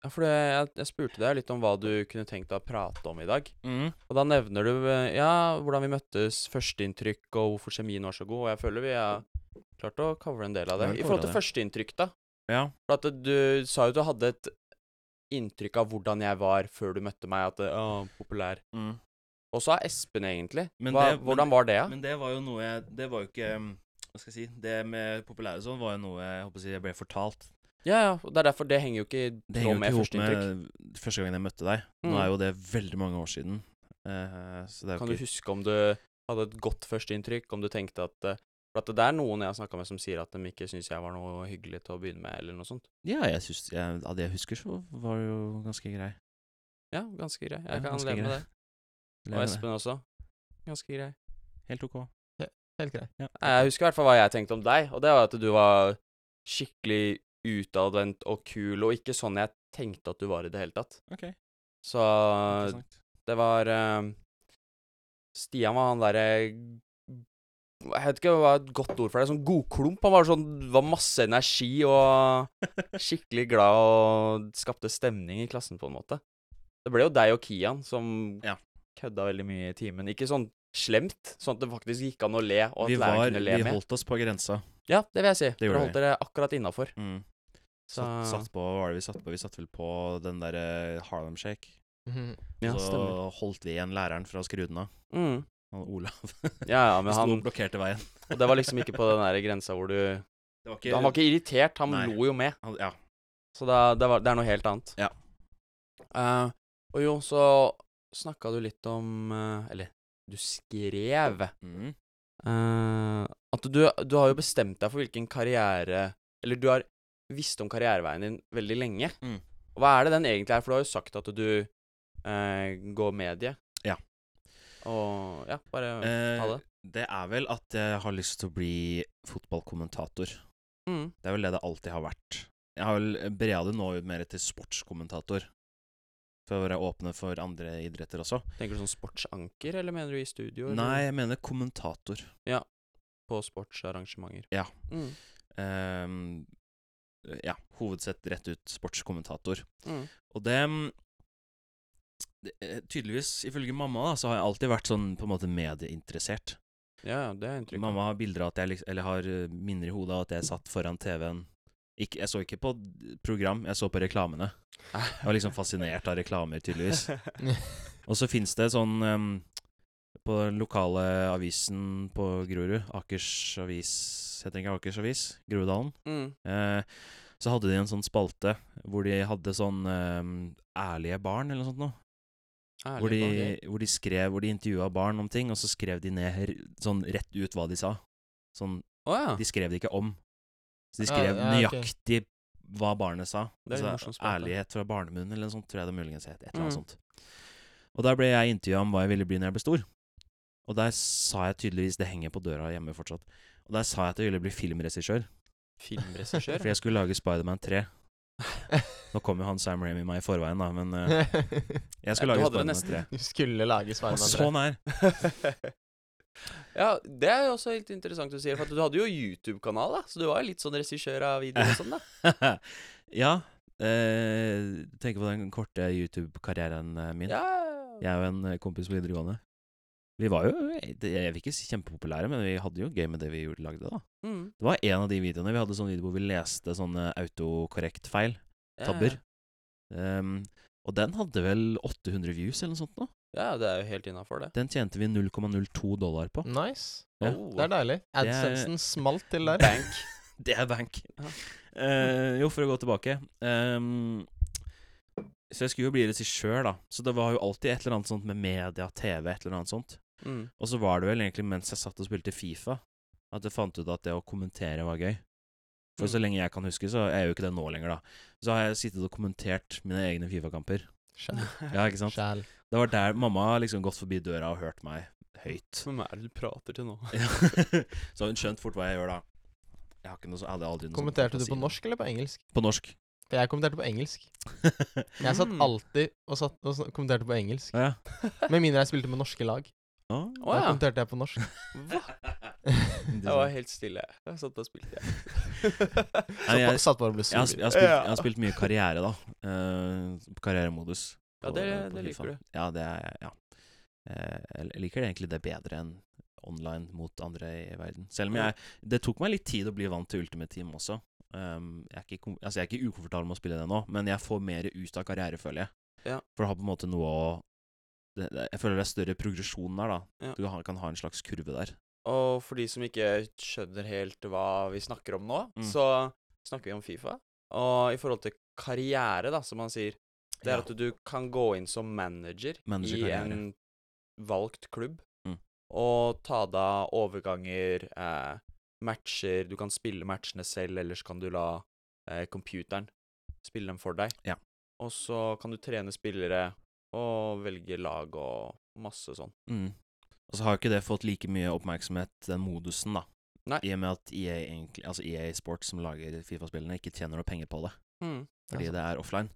ja, for det, jeg, jeg spurte deg litt om hva du kunne tenkt deg å prate om i dag. Og da nevner du eh, ja, hvordan vi møttes, førsteinntrykk, og hvorfor kjemien var så god. Og jeg føler vi har klart å covre en del av det.
Ja, vi
I forhold
covret
til førsteinntrykk, da.
Ja.
For at du sa jo du hadde et inntrykk av hvordan jeg var før du møtte meg, at å, populær. Og så er Espen, egentlig.
Men
Hva,
det- men-
hvordan var det, ja?
Men det var jo noe jeg Det var jo ikke um, Hva skal jeg si Det med populære sånn var jo noe jeg håper å si jeg ble fortalt.
ja, ja. og Det er derfor det henger jo ikke i
Det
tråd
henger
med
jo ikke
førsteinntrykk.
ihop med første gangen jeg møtte deg. Nå
Mm.
er jo det veldig mange år siden. Eh, så det er jo
Kan
ikke
du huske om du hadde et godt førsteinntrykk, om du tenkte at eh, For at det er noen jeg har snakka med som sier at de ikke syns jeg var noe hyggelig til å begynne med, eller noe sånt.
Ja, jeg syns jeg, Av det jeg husker, så var det jo ganske grei.
Ja, ganske grei.
Ja,
Jeg kan
ganske
leve med
grei.
det.
Leve
Og
med det.
Espen også. Ganske grei.
Helt ok.
Helt greit.
Ja.
Nei, Jeg husker i hvert fall hva jeg tenkte om deg, og det var at du var skikkelig utadvendt og kul, og ikke sånn jeg tenkte at du var i det hele tatt.
Ok,
Så
interessant.
det var eh, Stian var han derre Jeg vet ikke hva er et godt ord for det. Sånn godklump. Han var sånn Var masse energi og skikkelig glad og skapte stemning i klassen, på en måte. Det ble jo deg og Kian som
Ja.
kødda veldig mye i timen. Ikke sånn slemt, sånn at det faktisk gikk an å le, og at
vi
læreren
var
kunne le
Vi
med.
holdt oss på grensa.
Ja, det vil jeg si. Dere
gjorde
holdt dere akkurat innafor.
Mm.
Så
Satt, satt på, hva var det vi satt på? Vi satt vel på den derre Harlem Shake.
Mhm.
ja,
så
stemmer.
holdt vi igjen læreren fra å skru den av.
Mm.
Han Olav.
Ja, ja, men
Vi sto
han
og blokkerte veien.
Og det var liksom ikke på den der grensa hvor du
Det var ikke,
Han var ikke irritert, han
Nei.
lo jo med.
han, Ja.
Så da, det, var, det er noe helt annet.
Ja.
Eh, og jo, så snakka du litt om eh, Eller, du skrev
Mm.
eh, at du, du har jo bestemt deg for hvilken karriere Eller du har visst om karriereveien din veldig lenge.
Mm.
Og hva er det den egentlig er? For du har jo sagt at du eh, går medie.
Ja.
Og ja, bare ta
Eh,
det.
det er vel at jeg har lyst til å bli fotballkommentator.
Mm.
Det er vel det det alltid har vært. Jeg har vel brea det nå ut mer til sportskommentator. For å være åpne for andre idretter også.
Tenker du sånn sportsanker, eller mener du i studio? eller
Nei, jeg mener kommentator.
På sportsarrangementer.
Ja.
Mm.
Ehm, ja, hovedsett rett ut sportskommentator.
Mm.
Og det mm, det- eh, Tydeligvis, ifølge mamma, da, så har jeg alltid vært sånn på en måte medieinteressert.
Ja, ja, det er inntrykket.
Mamma har bilder av at jeg liksom, eller har eh, minner i hodet av at jeg satt foran TV-en ikke, Jeg så ikke på d- program, jeg så på reklamene. Jeg var liksom fascinert av reklamer, tydeligvis. Og så fins det sånn ehm, På den lokale avisen på Grorud, Akers Avis Heter den ikke Akers Avis? Groruddalen.
Mm.
Eh, så hadde de en sånn spalte hvor de hadde sånn ehm, Ærlige barn, eller noe sånt noe.
Ærlig,
Hvor de,
bare.
hvor de skrev Hvor de intervjua barn om ting, og så skrev de ned r- sånn rett ut hva de sa. Sånn
Å ja.
De skrev det ikke om. Så de
Ja,
skrev
ja, ok.
nøyaktig hva barnet sa.
Det er litt
Altså,
morsomt spalte.
ærlighet fra barnemunnen eller noe sånt, tror jeg det muligens het. Et eller annet
Mm.
sånt. Og der ble jeg intervjua om hva jeg ville bli når jeg ble stor. Og der sa jeg tydeligvis Det henger på døra hjemme fortsatt. Og der sa jeg at jeg ville bli filmregissør.
Filmregissør?
For jeg skulle lage Spiderman 3. Nå kom jo han Sam Ramy meg i forveien, da, men eh, jeg
Ja,
skulle
du
lage
hadde det
Spiderman
nesten.
3.
Du skulle lage
Jeg var
Sveiman
så nær.
ja, det er jo også helt interessant du sier, for at du hadde jo YouTube-kanal, da, så du var jo litt sånn regissør av videoer og sånn, da.
ja. Eh, tenker på den korte YouTube-karrieren eh, min.
Ja,
Jeg og en eh, kompis på videregående. Vi var jo, eh, det- jeg vil ikke si kjempepopulære, men vi hadde jo gøy med det vi gjorde- lagde, da.
Mm.
Det var en av de videoene. Vi hadde sånn video hvor vi leste sånne autokorrektfeil,
Ja,
tabber. Ehm, og den hadde vel 800 views eller noe sånt nå.
Ja, ja, det er jo helt innafor, det.
Den tjente vi 0,02 dollar på.
Nice.
Ja.
Oh.
Det er deilig.
Det er-
AdSensen smalt til der.
Bank.
Det er bank.
Ja.
Eh, jo, for å gå tilbake ehm, Så jeg skulle jo bli regissør, da. Så det var jo alltid et eller annet sånt med media, TV, et eller annet sånt.
Mm.
Og så var det vel egentlig mens jeg satt og spilte Fifa, at jeg fant ut at det å kommentere var gøy. For så
Mm.
lenge jeg kan huske, så er jeg jo ikke det nå lenger, da. Så har jeg sittet og kommentert mine egne Fifa-kamper.
Sjæl.
Ja, ikke sant?
Sjæl.
Det var der mamma har liksom gått forbi døra og hørt meg høyt.
Hvem er det du prater til nå?
Ja.
Mm.
så har hun skjønt fort hva jeg gjør da. Jeg har ikke noe så jeg hadde aldri noe sånt
Kommenterte du
fantasi.
på norsk eller på engelsk?
På norsk.
For jeg kommenterte på engelsk. Jeg satt
Mm.
alltid og, satt og sn- kommenterte på engelsk.
ja.
Med mindre jeg spilte med norske lag.
Ah,
Å
Da
ja.
kommenterte jeg på norsk.
Hva? Jeg var helt stille. Jeg satt og spilte, jeg.
Nei, jeg,
Satt bare og ble
jeg, har, sp-
sur.
jeg, har spilt,
Ja.
jeg har spilt mye karriere, da. Eh, karrieremodus.
Ja,
på-
det-
på
det
FIFA.
liker du.
Ja, det er Ja. Eh, Jeg liker egentlig det bedre enn online mot andre i verden. Selv om jeg Det tok meg litt tid å bli vant til Ultimate Team også. Um, jeg, er ikke, kom- altså jeg er ikke ukomfortabel med å spille det nå, men jeg får mer ut av karriere, føler jeg.
Ja.
For du har på en måte noe å det, det, Jeg føler det er større progresjon der, da.
Ja.
Du kan, kan ha en slags kurve der.
Og for de som ikke skjønner helt hva vi snakker om nå,
Mm.
så snakker vi om Fifa. Og i forhold til karriere, da, som han sier, det er
Ja.
at du kan gå inn som manager i
Managerkarriere.
en valgt klubb,
Mm.
og ta deg av overganger, eh, matcher Du kan spille matchene selv, eller så kan du la eh, computeren spille dem for deg.
Ja.
Og så kan du trene spillere og velge lag og masse sånn.
Mm. Og så har jo ikke det fått like mye oppmerksomhet, den modusen, da.
Nei.
I og med at EA, egentlig, altså EA Sports, som lager Fifa-spillene, ikke tjener noe penger på det, fordi det er offline.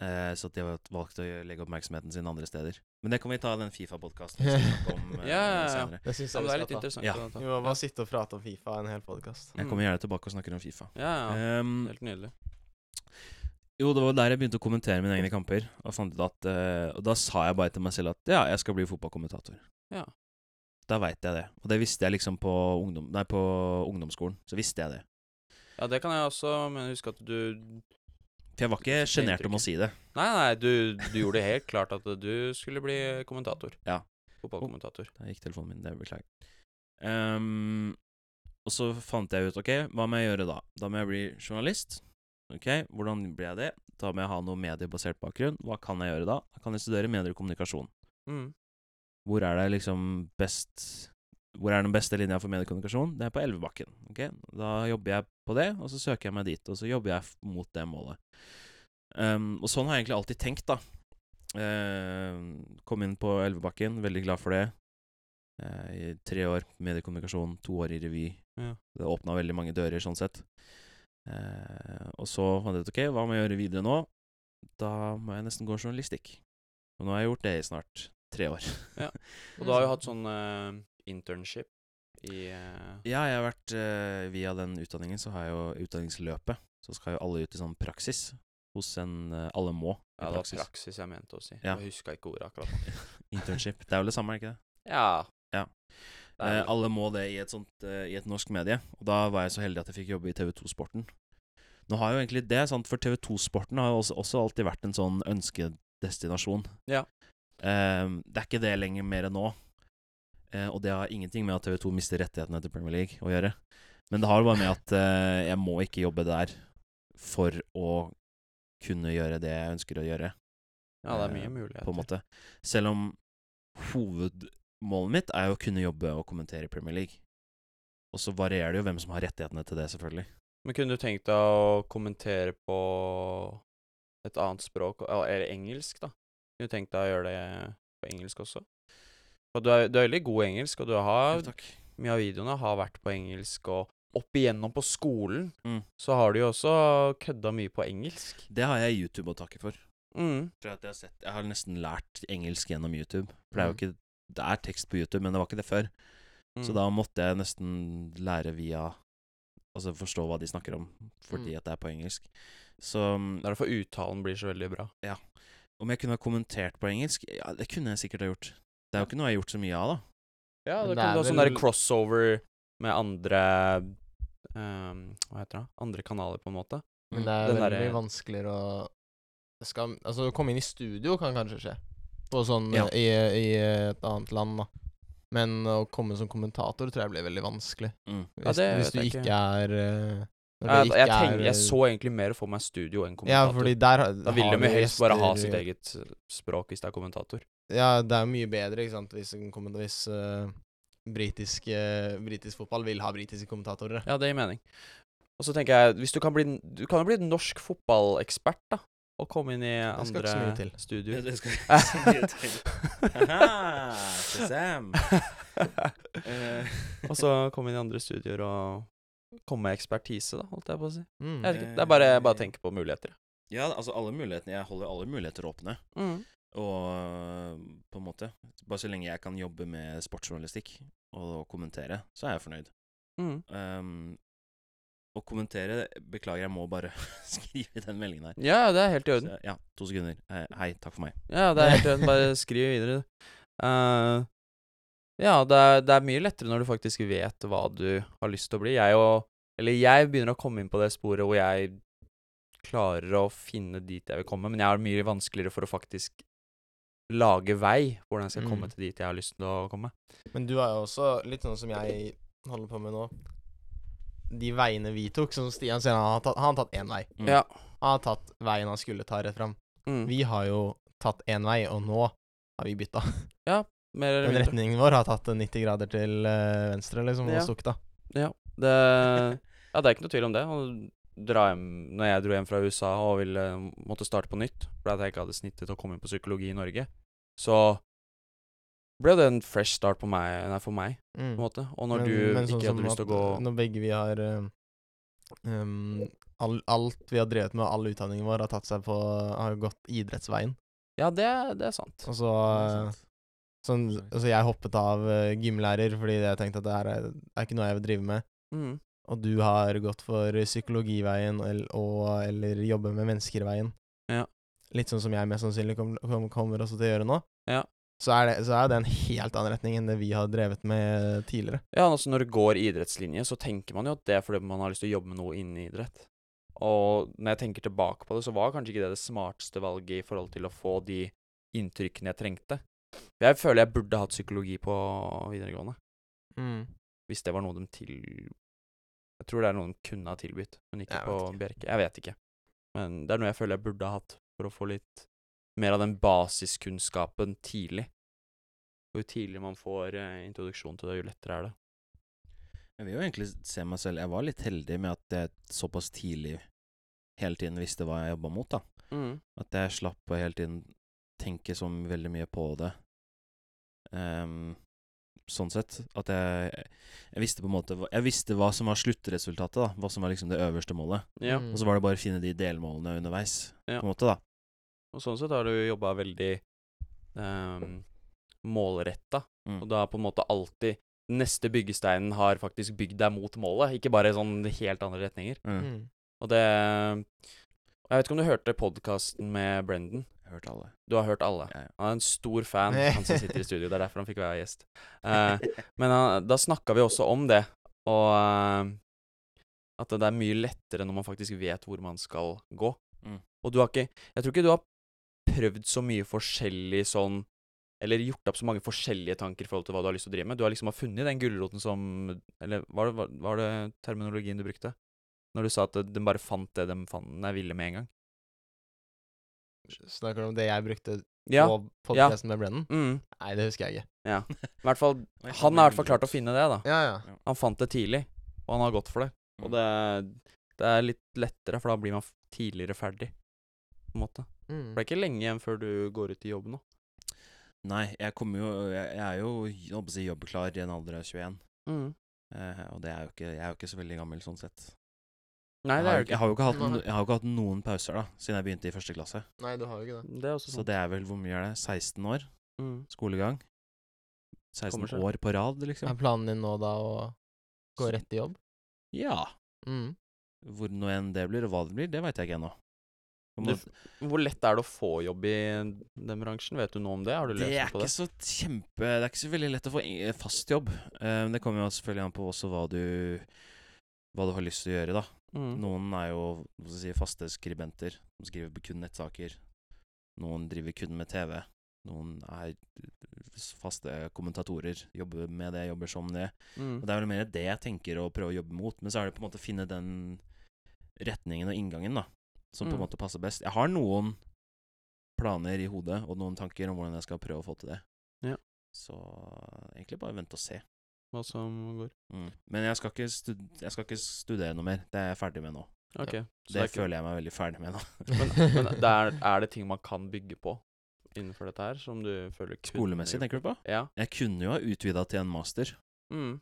Eh, så at de har valgt å gjøre- legge oppmerksomheten sin andre steder. Men det kan vi ta i den Fifa-podkasten vi skal snakke om
Ja,
eh,
ja, ja.
senere.
Det syns
Ja, men det er
jeg vi skal
litt
ta.
interessant.
Ja.
å ta.
Vi må bare sitte og prate om Fifa en hel podkast.
Jeg
Mm.
kommer gjerne tilbake og snakker om Fifa.
Ja, ja.
Ehm,
Helt nydelig.
jo, det var der jeg begynte å kommentere mine egne kamper, og fant ut at eh, Og da sa jeg bare til meg selv at ja, jeg skal bli fotballkommentator.
Ja.
Da veit jeg det. Og det visste jeg liksom på, ungdom, nei, på ungdomsskolen. Så visste jeg det.
ja, det kan jeg også, men husk at du
For jeg var ikke
Det er
sjenert om å
inntrykket.
si det.
Nei, nei, du, du gjorde det helt klart at du skulle bli kommentator.
Ja.
Fotballkommentator.
Der gikk telefonen min, det beklager. Ehm, og så fant jeg ut, ok, hva må jeg gjøre da? Da må jeg bli journalist. Ok, Hvordan blir jeg det? Da må jeg ha noe mediebasert bakgrunn. Hva kan jeg gjøre da? Da kan jeg studere medier og kommunikasjon.
Mm.
Hvor er det liksom best Hvor er den beste linja for mediekommunikasjon? Det er på Elvebakken. ok? Da jobber jeg på det, og så søker jeg meg dit, og så jobber jeg f- mot det målet. Ehm, og sånn har jeg egentlig alltid tenkt, da. Ehm, kom inn på Elvebakken, veldig glad for det. Eh, I tre år mediekommunikasjon, to år i revy.
Ja.
Det åpna veldig mange dører, sånn sett. Eh, og så fant jeg ut ok, hva må jeg gjøre videre nå? Da må jeg nesten gå journalistikk. Og nå har jeg gjort det i snart tre år.
Og du har jo hatt sånn eh, internship i eh,
Ja, jeg har vært eh, Via den utdanningen så har jeg jo utdanningsløpet. Så skal jo alle ut i sånn praksis hos en eh, Alle må i
Ja, det var
praksis.
praksis jeg mente å si.
Ja.
Jeg huska ikke ordet akkurat.
Internship. Det er vel det samme, er det ikke det?
Ja.
Ja.
Det er
Eh,
vel-
alle må det i et, sånt, eh, i et norsk medie. Og da var jeg så heldig at jeg fikk jobbe i TV2 Sporten. Nå har jo egentlig det, sant, for TV2 Sporten har jo også, også alltid vært en sånn ønskedestinasjon.
Ja.
Eh, det er ikke det lenger mer enn nå. Eh, og det har ingenting med at TV2 mister rettighetene til Premier League å gjøre. Men det har bare med at eh, jeg må ikke jobbe der for å kunne gjøre det jeg ønsker å gjøre
ja, det er
eh,
mye muligheter.
på en måte. Selv om hovedmålet mitt er jo å kunne jobbe og kommentere i Premier League. Og så varierer det jo hvem som har rettighetene til det, selvfølgelig.
Men kunne du tenkt deg å kommentere på et annet språk, og- eller engelsk, da? Kunne du tenkt deg å gjøre det på engelsk også? For du er, du er veldig god i engelsk, og du har
takk.
mye av videoene har vært på engelsk, og opp igjennom på skolen
Mm.
så har du jo også kødda mye på engelsk.
Det har jeg YouTube å takke for.
Mm.
For at jeg, har sett, jeg har nesten lært engelsk gjennom YouTube. For det er jo
Mm.
ikke Det er tekst på YouTube, men det var ikke det før.
mm.
Så da måtte jeg nesten lære via Altså forstå hva de snakker om, fordi
Mm.
at det er på engelsk. Så um,
Det er derfor uttalen blir så veldig bra.
om jeg kunne ha kommentert på engelsk? Ja, det kunne jeg sikkert ha gjort. Det er jo ikke noe jeg har gjort så mye av, da.
Ja, da
Men det
kan
er
du ha sånn der
vel-
crossover med andre ehm, Hva heter det? Andre kanaler, på en måte.
Men det er
Den
veldig
derre-
vanskeligere å det skal, Altså, å komme inn i studio kan kanskje skje, på sånn
Ja.
i, i et annet land, da. Men å komme som kommentator tror jeg blir veldig vanskelig.
Mm.
Ja,
Hvis,
det
hvis
vet
du
jeg ikke.
ikke, er eh, når
Jeg,
du
jeg,
ikke
tenker,
er, eh,
jeg så egentlig mer for meg studio enn
Ja,
kommentator.
fordi der har-
Da vil de
har
jo
du
helst bare ha
gjester-
sitt eget språk hvis det er kommentator.
Ja, det er jo mye bedre, ikke sant, hvis, en kommentar- hvis eh, britisk, eh, britisk fotball vil ha britiske kommentatorer.
Ja, det gir mening. Og så tenker jeg, hvis du kan bli Du kan jo bli norsk fotballekspert, da. Og komme inn i
Det skal ikke så mye
andre
til.
studio.
Det skal jeg si mye til. Haha, Shazam. Eh,
og så komme inn i andre studioer og komme med ekspertise, da, holdt jeg på å si.
Mm.
Jeg vet ikke, det er bare, bare å tenke på muligheter.
ja, altså alle mulighetene Jeg holder alle muligheter åpne.
Mm,
Og øh, på en måte Bare så lenge jeg kan jobbe med sportsjournalistikk og kommentere, så er jeg fornøyd.
Mm.
Um, å kommentere Beklager, jeg må bare skrive den meldingen her.
Ja, det er helt i orden.
Så, ja, to sekunder. Eh, Hei, takk for meg.
Ja, det er helt i orden. Bare skriv videre, du. Eh, ja, det er, det er mye lettere når du faktisk vet hva du har lyst til å bli. Jeg og Eller jeg begynner å komme inn på det sporet hvor jeg klarer å finne dit jeg vil komme, men jeg har mye vanskeligere for å faktisk lage vei hvordan jeg skal komme
Mm.
til dit jeg har lyst til å komme.
Men du er jo også litt sånn som jeg holder på med nå. De veiene vi tok, som Stian sier, han har tatt, han har tatt én vei.
Mm.
Ja.
Han har tatt veien han skulle ta rett fram.
Mm.
Vi har jo tatt én vei, og nå har vi bytta.
Mer eller
Den
mindre.
retningen vår har tatt eh, 90 grader til eh, venstre, liksom, og
Ja.
stukket av.
Det, ja, det er ikke noe tvil om det. Og dra hjem, når jeg dro hjem fra USA og ville, måtte starte på nytt fordi at jeg ikke hadde snittet å komme inn på psykologi i Norge, så ble det en fresh start på meg, nei, for meg, på
Mm.
en måte. Og når du
sånn
ikke hadde lyst til å gå
Når begge vi har eh, um, all, Alt vi har drevet med, all utdanningen vår, har tatt seg på Har gått idrettsveien.
Ja, det, er- det er sant.
Og så eh, Sånn,
Sorry.
altså jeg hoppet av eh, gymlærer fordi jeg tenkte at det her er, er ikke noe jeg vil drive med.
Mm.
Og du har gått for psykologiveien eller, og, eller jobbe med mennesker-veien.
Ja.
Litt sånn som jeg mest sannsynlig kom, kom, kommer også til å gjøre nå.
Ja.
Så er, det, så er det en helt annen retning enn det vi har drevet med tidligere.
Ja, altså når du går idrettslinje, så tenker man jo at det er fordi man har lyst til å jobbe med noe innen idrett. Og når jeg tenker tilbake på det, så var kanskje ikke det det smarteste valget i forhold til å få de inntrykkene jeg trengte. Jeg føler jeg burde hatt psykologi på videregående. Hvis det var noe de til... Jeg tror det er noe de kunne ha tilbudt, men ikke
Jeg vet
på
ikke.
Bjerke. Jeg vet ikke. Men det er noe jeg føler jeg burde ha hatt for å få litt mer av den basiskunnskapen tidlig. Og jo tidligere man får eh, introduksjon til det, jo lettere er det.
Jeg vil jo egentlig se meg selv Jeg var litt heldig med at jeg såpass tidlig hele tiden visste hva jeg jobba mot, da.
Mm.
At jeg slapp å hele tiden tenke så veldig mye på det. Ehm, sånn sett. At jeg, jeg visste på en måte hva- Jeg visste hva som var sluttresultatet, da. Hva som var liksom det øverste målet.
Ja,
Mm.
Og så var det bare å finne de delmålene underveis,
Ja.
på en måte, da.
og sånn sett har du jobba veldig um, målretta,
Mm.
og da på en måte alltid Neste byggesteinen har faktisk bygd deg mot målet, ikke bare sånn helt andre retninger.
Mm.
Mm.
Og det Jeg vet ikke om du hørte podkasten med Brendan?
Jeg hørte alle.
Du har hørt alle.
Ja, ja.
Han er en stor fan, han som sitter i studio. Det er derfor han fikk være gjest. Eh, men han, da snakka vi også om det, og eh, at det er mye lettere når man faktisk vet hvor man skal gå.
Mm.
Og du har ikke Jeg tror ikke du har prøvd så mye forskjellig sånn eller gjort opp så mange forskjellige tanker i forhold til hva du har lyst til å drive med. Du har liksom har funnet den gulroten som Eller var det, var, var det terminologien du brukte? Når du sa at den bare fant det den fant, den er ville med en gang?
Snakker du om det jeg brukte
Ja.
på podkasten med Brennan?
Mm.
Nei, det husker jeg ikke.
I hvert fall
Oi, det
Han
ble
har i hvert fall klart å
gulrot.
finne det, da.
Ja, ja.
Han fant det tidlig, og han har gått for det. Og det, det er litt lettere, for da blir man f- tidligere ferdig, på en måte.
Mm.
For det er ikke lenge igjen før du går ut i jobb nå.
Nei, jeg kommer jo Jeg, jeg er jo jeg holdt på å si, jobbklar i en alder av 21. Eh, og det er jo ikke, jeg er jo ikke så veldig gammel sånn sett.
Nei,
jeg,
det er
har, jo
jo
ikke- jeg, har jo ikke hatt,
Nei.
no- jeg har jo ikke hatt noen pauser da siden jeg begynte i første klasse.
Nei, du har jo ikke det.
ikke Det er også
Så
sånn.
det er vel hvor mye er det? 16 år
Mm.
skolegang?
Kommer
16
seg.
år på rad,
Er
liksom?
planen din nå da å gå rett i jobb?
Ja.
Mm.
Hvor nå enn det blir, og hva det blir, det veit jeg ikke ennå. På en
Du-
måte-
Hvor lett er det å få jobb i den bransjen? Vet du noe om det? Har du
Det
lest
er
noe på
ikke
det?
så kjempe Det er ikke så veldig lett å få en- fast jobb. Eh, Men det kommer jo selvfølgelig an på også hva du Hva du har lyst til å gjøre, da.
Mm.
Noen er jo hva skal jeg si, faste skribenter, som skriver kun nettsaker. Noen driver kun med TV. Noen er eh, faste kommentatorer, jobber med det, jobber som det.
Mm.
Og Det er vel mer det jeg tenker å prøve å jobbe mot, men så er det på en måte å finne den retningen og inngangen, da, som på en
Mm.
måte passer best. Jeg har noen planer i hodet og noen tanker om hvordan jeg skal prøve å få til det.
Ja.
Så egentlig bare vente og se.
Hva som går.
Mm. Men jeg skal, ikke stud jeg skal ikke studere noe mer. Det er jeg ferdig med nå.
Ok. Så
det
det er ikke,
føler jeg meg veldig ferdig med nå.
men det er, er det ting man kan bygge på innenfor dette her, som du føler kunne
Skolemessig,
gjort?
tenker du på?
Ja.
Jeg kunne jo ha utvida til en master.
Mm.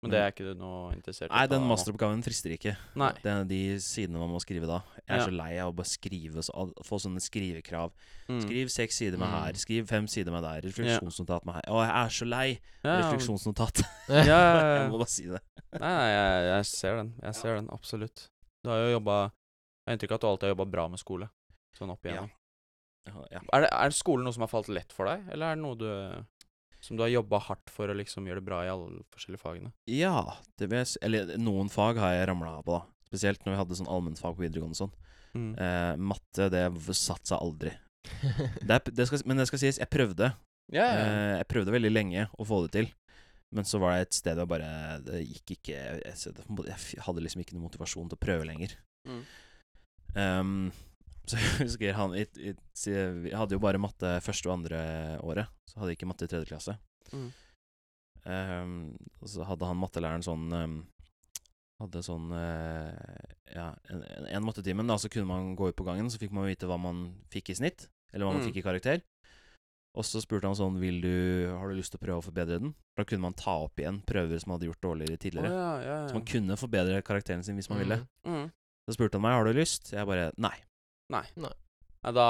Men
Men-
det er ikke du noe interessert i å
Nei,
ta
den
nå.
masteroppgaven frister ikke.
Nei.
Det er de sidene man må skrive da. Jeg er
Ja.
så lei av å bare skrive så, å få sånne skrivekrav.
Mm.
Skriv seks sider med
Mm.
her, skriv fem sider med der, refleksjonsnotat med her. Å, jeg er så lei!
Ja, ja, men-
Refleksjonsnotat.
Ja, ja, ja.
jeg må bare si det.
Nei, nei jeg, jeg ser den. Jeg ser den, absolutt. Du har jo jobba Jeg har inntrykk av at du alltid har jobba bra med skole. Sånn opp igjennom.
Ja.
Er, det, er skole noe som har falt lett for deg, eller er det noe du som du har jobba hardt for å liksom gjøre det bra i alle forskjellige fagene?
ja det vil jeg, s- eller noen fag har jeg ramla av på, da. Spesielt når vi hadde sånn allmennfag på videregående og sånn.
Mm.
Eh, matte, det v- satt seg aldri. Det er, p- det skal, men det skal sies, jeg prøvde.
Ja, ja, ja.
Eh, jeg prøvde veldig lenge å få det til, men så var det et sted jeg bare Det gikk ikke Jeg, jeg, jeg hadde liksom ikke noe motivasjon til å prøve lenger.
Mm.
Ehm, så jeg husker han i, i, si- Jeg hadde jo bare matte første og andre året. Så hadde jeg ikke matte i tredje klasse.
Mm.
Ehm, og så hadde han mattelæreren sånn ehm, Hadde sånn eh, Ja, en, en, en mattetime, da, så kunne man gå ut på gangen, så fikk man vite hva man fikk i snitt, eller hva man
Mm.
fikk i karakter. Og så spurte han sånn Vil du, Har du lyst til å prøve å forbedre den? Da kunne man ta opp igjen prøver som man hadde gjort dårligere
Å,
tidligere.
ja, ja,
Så
ja.
man kunne forbedre karakteren sin hvis man ville.
Mm.
Mm.
Så spurte han meg har du lyst. Jeg bare nei.
Nei, da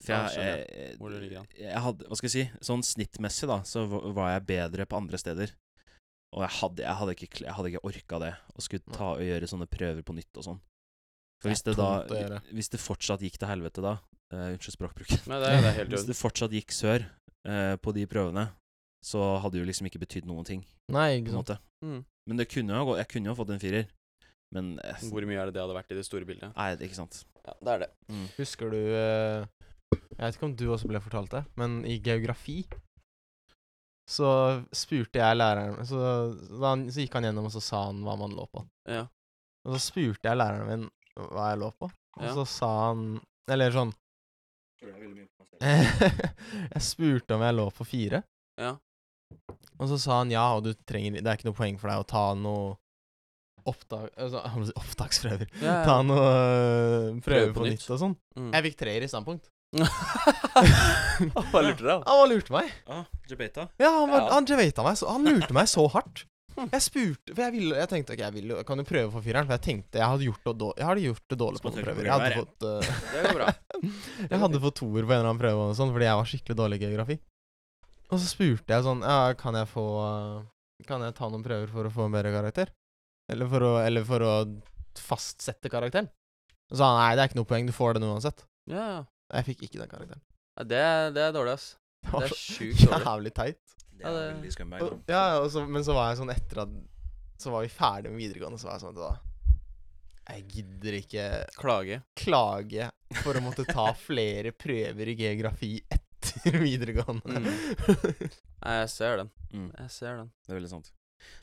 For
Ja,
jeg,
skjønner
jeg,
hvor det ligger an.
jeg hadde, hva skal jeg si, sånn snittmessig da, så va- var jeg bedre på andre steder. Og jeg hadde, jeg hadde, ikke, kl- jeg hadde ikke orka det, å skulle ta og gjøre sånne prøver på nytt og sånn. For
Det er
hvis det da,
tungt å gjøre.
hvis det fortsatt gikk til helvete da, eh, unnskyld språkbruken,
Nei, det, er- det er helt
hvis
jorden.
det fortsatt gikk sør eh, på de prøvene, så hadde det jo liksom ikke betydd noen ting,
Nei,
på
ikke
en
sant.
måte.
Mm.
Men det kunne jo ha gått, jeg kunne jo ha fått en firer, men eh,
Hvor mye er det det hadde vært i det store bildet?
nei, det er ikke sant.
Ja, det er det.
Mm.
Husker du eh, Jeg vet ikke om du også ble fortalt det, men i geografi så spurte jeg læreren så, da han, så gikk han gjennom, og så sa han hva man lå på.
Ja.
Og så spurte jeg læreren min hva jeg lå på. Og
Ja.
så sa han Eller sånn
Klør veldig mye på meg selv.
Jeg spurte om jeg lå på fire,
Ja.
og så sa han ja, og du trenger Det er ikke noe poeng for deg å ta noe opptak... Altså, jeg må si opptaksprøver.
Ja, ja.
Ta noe øh, prøver
Prøve på
på
nytt.
nytt og sånn.
Mm.
Jeg fikk treer i standpunkt.
Hva lurte deg?
Han bare lurte meg.
Ah, Jebeta.
Ja, han, var,
Ja.
han jevata meg. Så, han lurte meg så hardt.
Mm.
Jeg spurte For jeg, ville, jeg tenkte ok, jeg, vil jo- jeg kan jo prøve for fireren, for jeg tenkte jeg hadde gjort det, dår- jeg hadde gjort det dårlig på
Skal
noen
trykke på
prøver. Jeg hadde
prøver,
fått øh,
Det går bra.
Jeg hadde fått toer på en eller annen prøve, og sånn, fordi jeg var skikkelig dårlig i geografi. Og så spurte jeg sånn ja, Kan jeg få eh, Kan jeg ta noen prøver for å få en bedre karakter? Eller for å, eller for å fastsette karakteren? Og så sa han nei, det er ikke noe poeng, du får den uansett.
Ja, ja.
Jeg fikk ikke den karakteren.
Ja, Det, er- det er dårlig, ass.
Det
Det
var
er
så
sjukt dårlig.
jævlig teit.
Det
Ja,
er
det-
veldig scumbag.
Og,
da.
ja, og så, men så var jeg sånn etter at Så var vi ferdig med videregående, så var jeg sånn at da Jeg gidder ikke
Klage.
klage for å måtte ta flere prøver i geografi etter videregående.
Mm. Nei, jeg ser den.
Mm,
Jeg ser den.
det er veldig sant.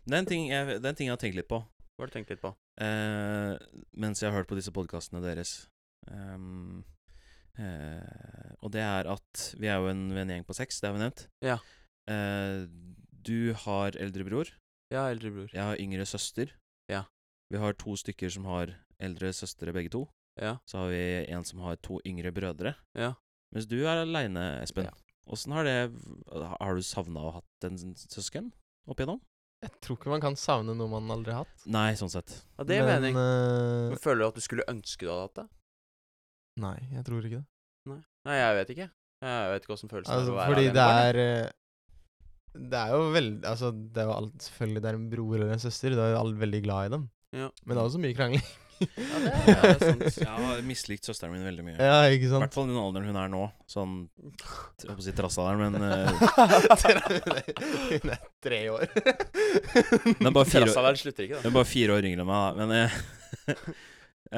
Det er en ting jeg, det er en ting jeg har tenkt litt på.
Hva har du tenkt litt på?
eh, mens jeg har hørt på disse podkastene deres. Ehm, eh, og det er at vi er jo en vennegjeng på seks, det har vi nevnt.
Ja.
Eh, du har eldre bror,
Ja, eldre bror.
jeg har yngre søster.
Ja.
Vi har to stykker som har eldre søstre, begge to.
Ja.
Så har vi en som har to yngre brødre.
Ja.
Mens du er aleine, Espen.
Ja.
Åssen har det Har du savna å ha hatt en søsken opp igjennom?
Jeg tror ikke man kan savne noe man aldri har hatt.
Nei, sånn sett.
Ja, det er
Men,
mening.
eh,
Men føler du at du skulle ønske du hadde hatt det?
nei, jeg tror ikke det.
Nei, jeg vet ikke. Jeg vet ikke åssen følelsen er
Altså,
å være
fordi
alene
det
barn, jeg.
er eh, Det er jo veldig Altså, det er jo alt, selvfølgelig det er en bror eller en søster, da er jo alle veldig glad i dem.
Ja.
Men altså- det er også mye krangling.
Ja, det er- ja, det er sant.
Jeg har mislikt søsteren min
Mm.
veldig mye.
ja, ikke
I
sant?
hvert fall i den alderen hun er nå. Sånn Jeg holdt på å si trassalderen, men eh,
Hun er tre år.
Hun er bare fire år,
Terrassealderen slutter ikke, da.
hun er bare fire år yngre enn meg, da. Men eh,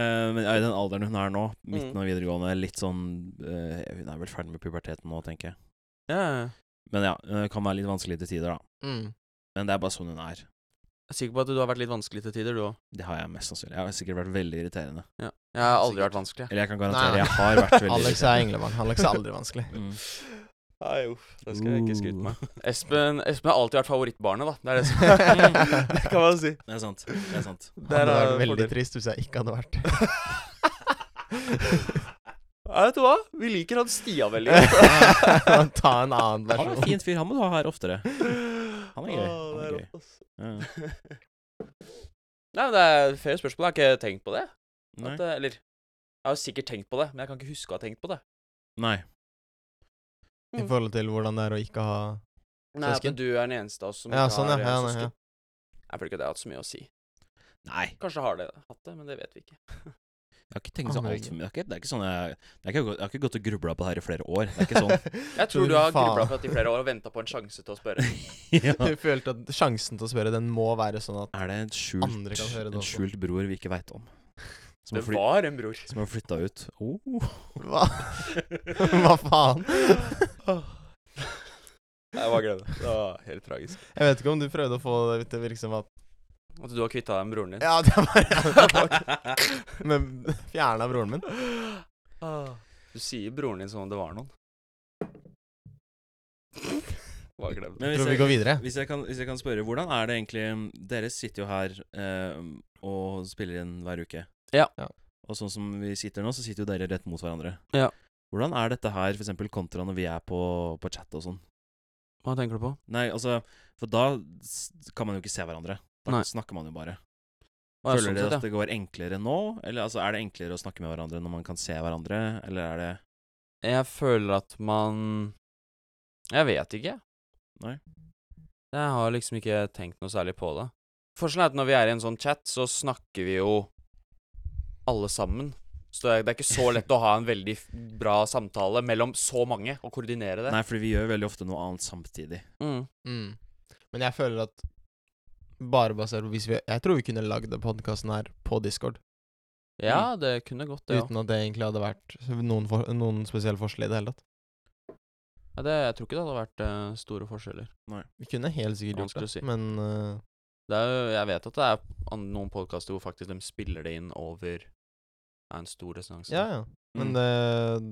eh, men ja, i den alderen hun er nå,
Mm.
midten av videregående, litt sånn eh, Hun er vel ferdig med puberteten nå, tenker jeg.
Ja, ja, ja.
Men ja, det kan være litt vanskelig til tider, da.
Mm.
Men det er bare sånn hun er.
Jeg er sikker på at du har vært litt vanskelig til tider, du òg.
Det har jeg mest sannsynlig. Jeg har sikkert vært veldig irriterende.
Ja. Jeg har aldri vært vanskelig.
Eller jeg kan
Nei.
garantere, jeg har vært veldig
Alex er englemann. Alex er aldri vanskelig.
Mm.
Nei, uff. Det skal jeg ikke skryte
Uh.
meg. Espen, Espen har alltid vært favorittbarnet, da. Det er det som Det kan man si.
Det er sant. Det er sant.
Det hadde vært
er
veldig
fordel.
trist hvis jeg ikke hadde vært
Ja, vet du hva? Vi liker han Stian veldig godt.
det. Ta en annen
Han er en
versjon.
fin fyr. Han må du ha her oftere. Han er gøy.
Åh,
Han
det
er
er
gøy.
rått, ass.
Ja. ja.
Nei, men det er fair spørsmål. Jeg har ikke tenkt på det.
Nei.
At, eh, eller Jeg har sikkert tenkt på det, men jeg kan ikke huske å ha tenkt på det.
Nei.
I
Mm.
forhold til hvordan det er å ikke ha
Nei, at
Søsken?
du er den eneste av oss som
Ja,
ikke
sånn, ja.
har eh,
Ja, nei,
søsken.
ja.
Jeg føler ikke det har hatt så mye å si.
Nei.
Kanskje har det hatt det, men det vet vi ikke.
Jeg har ikke tenkt så
Aner
alt
ikke.
for mye. Det er ikke- Det er ikke sånn jeg, det er ikke, jeg har ikke gått og grubla på det her i flere år. Det er ikke sånn.
Jeg tror du har
faen.
grubla på dette i flere år og venta på en sjanse til å spørre.
ja.
Du følte at sjansen til å spørre, den må være sånn at
Er det en
Andre kan høre
skjult,
det
en
også.
skjult bror vi ikke veit om? Som
Det
har, fly,
var en bror.
som har flytta ut. Oh.
Hva, hva faen?
Jeg bare glem det. Det var helt tragisk.
Jeg vet ikke om du prøvde å få det til å virke som at
At du har kvitta deg med broren din.
Ja, det var Men fjerna broren min.
Ah. Du sier broren din som om det var noen. Bare glem det.
Men
Jeg
hvis
tror vi
jeg,
går videre.
hvis, jeg kan, hvis jeg kan spørre, hvordan er det egentlig um, Dere sitter jo her eh, og spiller inn hver uke.
Ja.
Ja.
Og sånn som vi sitter nå, så sitter jo dere rett mot hverandre.
Ja.
Hvordan er dette her for eksempel kontra når vi er på, på chat og sånn?
Hva tenker du på?
Nei, altså For da s- kan man jo ikke se hverandre. Da
Nei.
snakker man jo bare.
Å, ja,
Føler
sånn
dere
sett, ja.
at det går enklere nå? Eller altså, er det enklere å snakke med hverandre når man kan se hverandre, eller er det
Jeg føler at man Jeg vet ikke.
Nei.
Jeg har liksom ikke tenkt noe særlig på det. Forskjellen er at når vi er i en sånn chat, så snakker vi jo alle sammen. Så det er, det er ikke så lett å ha en veldig f- bra samtale mellom så mange, og koordinere det.
Nei, fordi vi gjør veldig ofte noe annet samtidig.
Mm.
Mm. Men jeg føler at bare basert på hvis vi Jeg tror vi kunne lagd den podkasten her på Discord.
Ja,
Mm.
det kunne gått, det òg.
Uten at det egentlig hadde vært noen, for, noen spesielle forskjeller i det hele tatt.
Ja, det- jeg tror ikke det hadde vært eh, store forskjeller.
Vi kunne helt sikkert gjort
Vanskelig å
det,
si.
men øh,
Det er jo, jeg vet at det er an- noen podkaster hvor faktisk de spiller det inn over er en stor resonanse.
Ja, ja. Men
Mm.
det,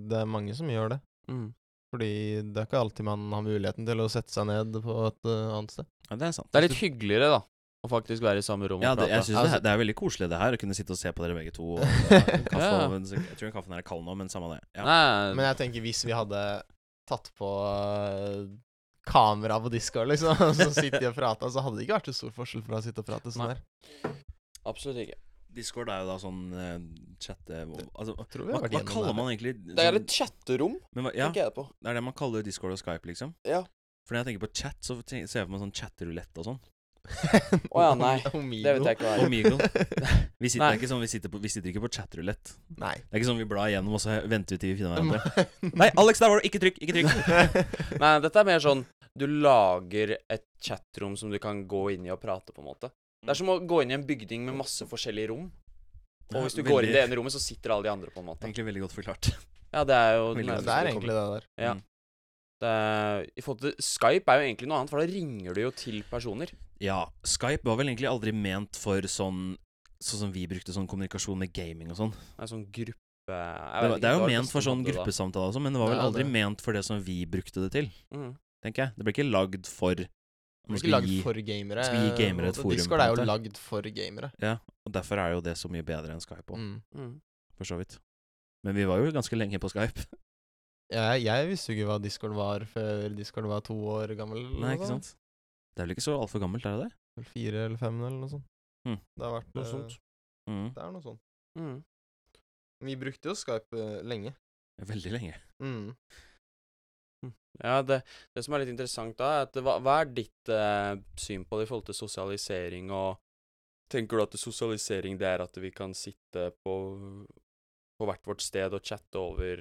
det er mange som gjør det.
Mm.
Fordi det er ikke alltid man har muligheten til å sette seg ned på et eh, annet sted.
Ja, det er sant.
Det er litt hyggeligere, da, å faktisk være i samme rom og
Ja, det, jeg
prate. Altså
synes det, er, det er veldig koselig det her, å kunne sitte og se på dere begge to. Og, ja, kaffe,
Ja.
og, jeg tror kaffen er kald nå, men samme det. Ja.
Nei,
Men jeg tenker hvis vi hadde tatt på eh, kamera på Discord, liksom, og så sitter de og prater, så hadde det ikke vært så stor forskjell fra å sitte og prate sånn
Nei.
her.
absolutt ikke.
Discord er jo da sånn uh, chatte... Altså, hva,
Tror vi
hva
har vært gjennom
kaller
det.
man egentlig
Det er
sånn-
et chatterom,
men, hva- ja,
tenker jeg på.
Det er det man kaller Discord og Skype, liksom.
Ja.
For når jeg tenker på chat, så ten- ser jeg for meg sånn chatterulett og sånn.
Å ja, nei. Det vet jeg ikke hva er.
Omigo. Vi sitter,
Nei.
det er ikke sånn, vi sitter, på, vi sitter ikke på chatterulett.
Nei.
Det er ikke sånn vi blar igjennom og så venter vi til vi finner hverandre.
Mm.
Nei, Alex, der var du! Ikke trykk! Ikke trykk!
Nei, dette er mer sånn du lager et chatrom som du kan gå inn i og prate, på en måte. Det er som å gå inn i en bygning med masse forskjellige rom. Og hvis du går inn i det ene rommet, så sitter alle de andre, på en måte.
Egentlig veldig godt forklart. Mm.
Ja, det er jo
Veldig
Ja,
nærmeste
det er
du kommer.
egentlig det der.
Ja. Det er, I forhold til Skype er jo egentlig noe annet, for da ringer du jo til personer.
Ja, Skype var vel egentlig aldri ment for sånn Sånn som vi brukte sånn kommunikasjon med gaming og sånn.
Det er sånn gruppe jeg
Det,
vet
var-
ikke,
det er jo
var
ment for
Vesten
sånn
hadde det da.
gruppesamtale også, men det var vel
Ja,
aldri
det-
ment for det som vi brukte det til,
Mhm.
tenker jeg. Det ble ikke lagd for
Det
Man
er ikke
skulle
lagd
gi
for gamere.
skal vi gi
eh, på en
gamere et
måte.
forum,
Discord
på
er
en
jo
måte?
lagd for gamere.
Ja, og derfor er jo det så mye bedre enn Skype òg,
Mm.
Mhm.
for så vidt. Men vi var jo ganske lenge på Skype.
Jeg, jeg visste jo ikke hva Discord var før Discord var to år gammel. eller
Nei,
noe
ikke
sånt.
sant? Det er vel ikke så altfor gammelt, er det det?
Vel Fire eller fem eller noe sånt.
Mm.
Det har vært
Noe
eh,
sånt.
Mhm.
Det er noe sånt.
Mhm.
Vi brukte jo Skype eh, lenge.
Veldig lenge.
Mm.
Ja, det, det som er litt interessant da, er at hva, hva er ditt eh, syn på det i forhold til sosialisering og Tenker du at sosialisering det er at vi kan sitte på, på hvert vårt sted og chatte over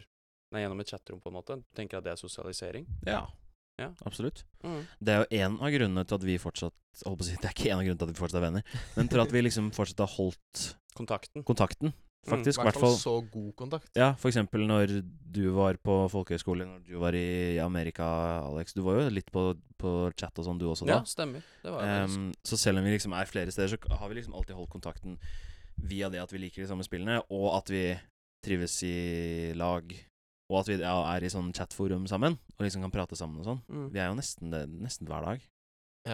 Nei, gjennom et chatrom, på en måte? Tenker du at det er sosialisering?
Ja.
Ja.
Absolutt.
Mm.
Det er jo en av grunnene til at vi fortsatt holdt på å si, Det er ikke en av grunnene til at vi fortsatt er venner, men til at vi liksom fortsatt har holdt
Kontakten?
kontakten,
Mm,
faktisk.
I
I hvert fall
sånn så god kontakt.
Ja, for eksempel når du var på folkehøyskole, når du var i Amerika, Alex. Du var jo litt på, på chat og sånn, du også,
ja,
da.
stemmer. Det var jeg faktisk.
Ehm, så selv om vi liksom er flere steder, så k- har vi liksom alltid holdt kontakten via det at vi liker de samme spillene, og at vi trives i lag, og at vi ja, er i sånn chatforum sammen, og liksom kan prate sammen og sånn.
Mm.
Vi er jo nesten, det, nesten hver dag.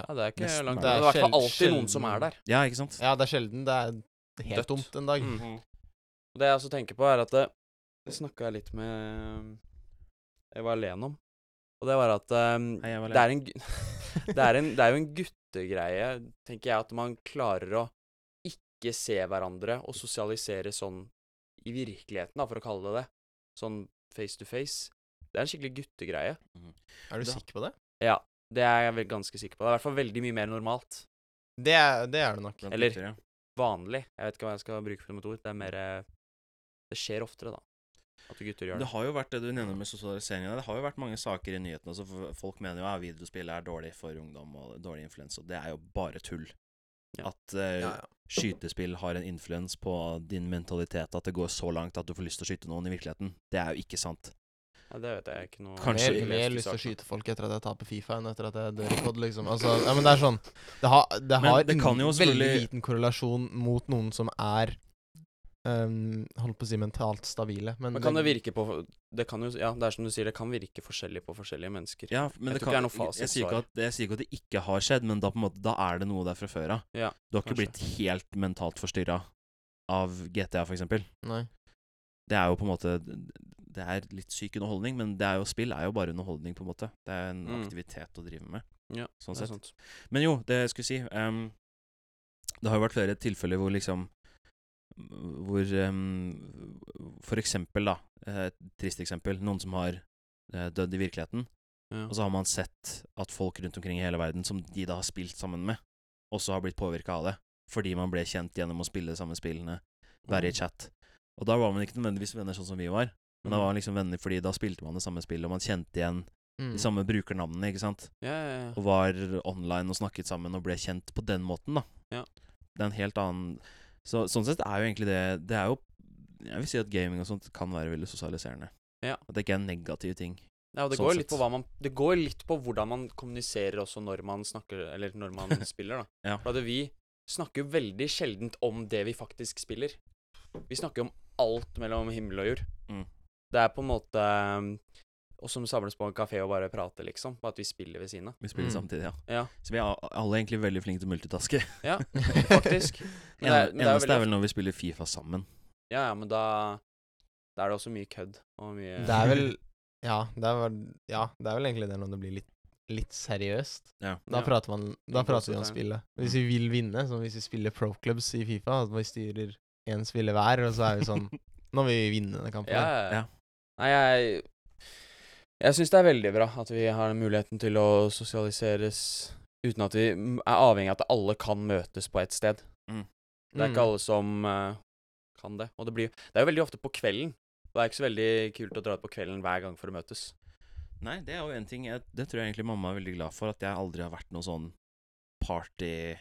Ja, det er ikke
Nesten
langt unna.
er
Det er i hvert fall
sjel-
alltid noen som
sjelden-
er der.
Ja, ikke sant?
Ja, det er sjelden. Det er helt
Dødt.
tomt en dag.
Mm. Og det jeg også tenker på, er at det, det snakka jeg litt med um, Eva Len om. Og det var at um,
Hei, jeg var
det, er en, gu- det, er en, det er jo en guttegreie, tenker jeg, at man klarer å ikke se hverandre og sosialisere sånn i virkeligheten, da, for å kalle det det. Sånn face to face. Det er en skikkelig guttegreie.
Er du
Da-
sikker på det?
Det er jeg vel ganske sikker på. Det er i hvert fall veldig mye mer normalt.
Det er det, er det nok.
Blant
eller-
gutter, ja.
Vanlig. Jeg vet ikke hva jeg skal bruke for et ord. Det er mer eh, Det skjer oftere, da. At gutter gjør
Det
det.
har jo vært det du nevner med sosialiseringen. Det har jo vært mange saker i nyhetene. Altså for folk mener jo at videospill er dårlig for ungdom og dårlig influens, og det er jo bare tull.
Ja.
At eh,
Ja, ja.
skytespill har en influens på din mentalitet at det går så langt at du får lyst til å skyte noen i virkeligheten. Det er jo ikke sant.
Ja, det vet jeg ikke noe
Kanskje-
mer,
Jeg har ikke
mer
lest i
lyst til å
saken.
skyte folk etter at jeg taper Fifa enn etter at jeg dør i COD, liksom. Altså, ja, men det er sånn Det har, det
Men
har
det kan
en
jo
veldig
selvfølgelig-
liten korrelasjon mot noen som er um, Holdt på å si mentalt stabile, men
Men kan det virke på Det kan jo Ja, det er som du sier, det kan virke forskjellig på forskjellige mennesker.
Ja, men
Jeg
det
tror ikke det er
kan,
noe
jeg, sier ikke
fasitsvar.
at, jeg sier ikke at det ikke har skjedd, men da, på en måte, da er det noe der fra før av.
Ja,
du har ikke
kanskje.
blitt helt mentalt forstyrra av GTA, for eksempel.
Nei.
Det er jo på en måte Det er litt syk underholdning, men det er jo spill er jo bare underholdning, på en måte. Det er en
Mm.
aktivitet å drive med.
Ja,
sånn
Det er
sett.
sant.
Men jo, det jeg skulle si ehm, Det har jo vært flere tilfeller hvor liksom Hvor ehm, For eksempel, da. eh, Et trist eksempel. Noen som har eh, dødd i virkeligheten.
Ja.
Og så har man sett at folk rundt omkring i hele verden, som de da har spilt sammen med, også har blitt påvirka av det. Fordi man ble kjent gjennom å spille de samme spillene,
Mm.
være i chat. Og da var man ikke nødvendigvis venner sånn som vi var, men
Mm.
da var man liksom venner fordi da spilte man det samme spillet, og man kjente igjen
Mm.
de samme brukernavnene, ikke sant.
Ja, ja, ja.
Og var online og snakket sammen og ble kjent på den måten, da.
Ja.
Det er en helt annen Så sånn sett er jo egentlig det Det er jo Jeg vil si at gaming og sånt kan være veldig sosialiserende.
Ja.
At det ikke er en negativ ting.
ja, og det
sånn
går litt
sett.
på hva man Det går litt på hvordan man kommuniserer også når man snakker Eller når man spiller, da.
Ja.
For at vi snakker jo veldig sjeldent om det vi faktisk spiller. Vi snakker jo om alt mellom himmel og jord.
Mm.
Det er på en måte um, Og som samles på en kafé og bare prater, liksom. Bare at vi spiller ved siden av.
Vi spiller
Mm.
samtidig, ja.
Ja.
Så vi er a- alle egentlig veldig flinke til å multitaske.
Ja, faktisk. Men det er- men det er jo
Ene- Eneste er
veldig-
vel når vi spiller Fifa sammen.
Ja, ja, men da Da er det også mye kødd og mye
Det er vel Ja, det er vel, ja, det er vel egentlig det når det blir litt, litt seriøst.
Ja.
Da
Ja.
prater, man, da
Litt
prater vi om
kosete.
spillet. Hvis vi vil vinne, som hvis vi spiller pro clubs i Fifa, at vi styrer én spiller hver, og så er vi sånn Nå vil vi vinne denne kampen.
Ja,
her."
ja.
Ja.
Nei, jeg Jeg syns det er veldig bra at vi har muligheten til å sosialiseres uten at vi mm, er avhengig av at alle kan møtes på ett sted. Det er
Mm.
ikke alle som eh, kan det. Og det blir Det er jo veldig ofte på kvelden. Det er ikke så veldig kult å dra ut på kvelden hver gang for å møtes.
Nei, det er jo en ting jeg, Det tror jeg egentlig mamma er veldig glad for, at jeg aldri har vært noe sånn party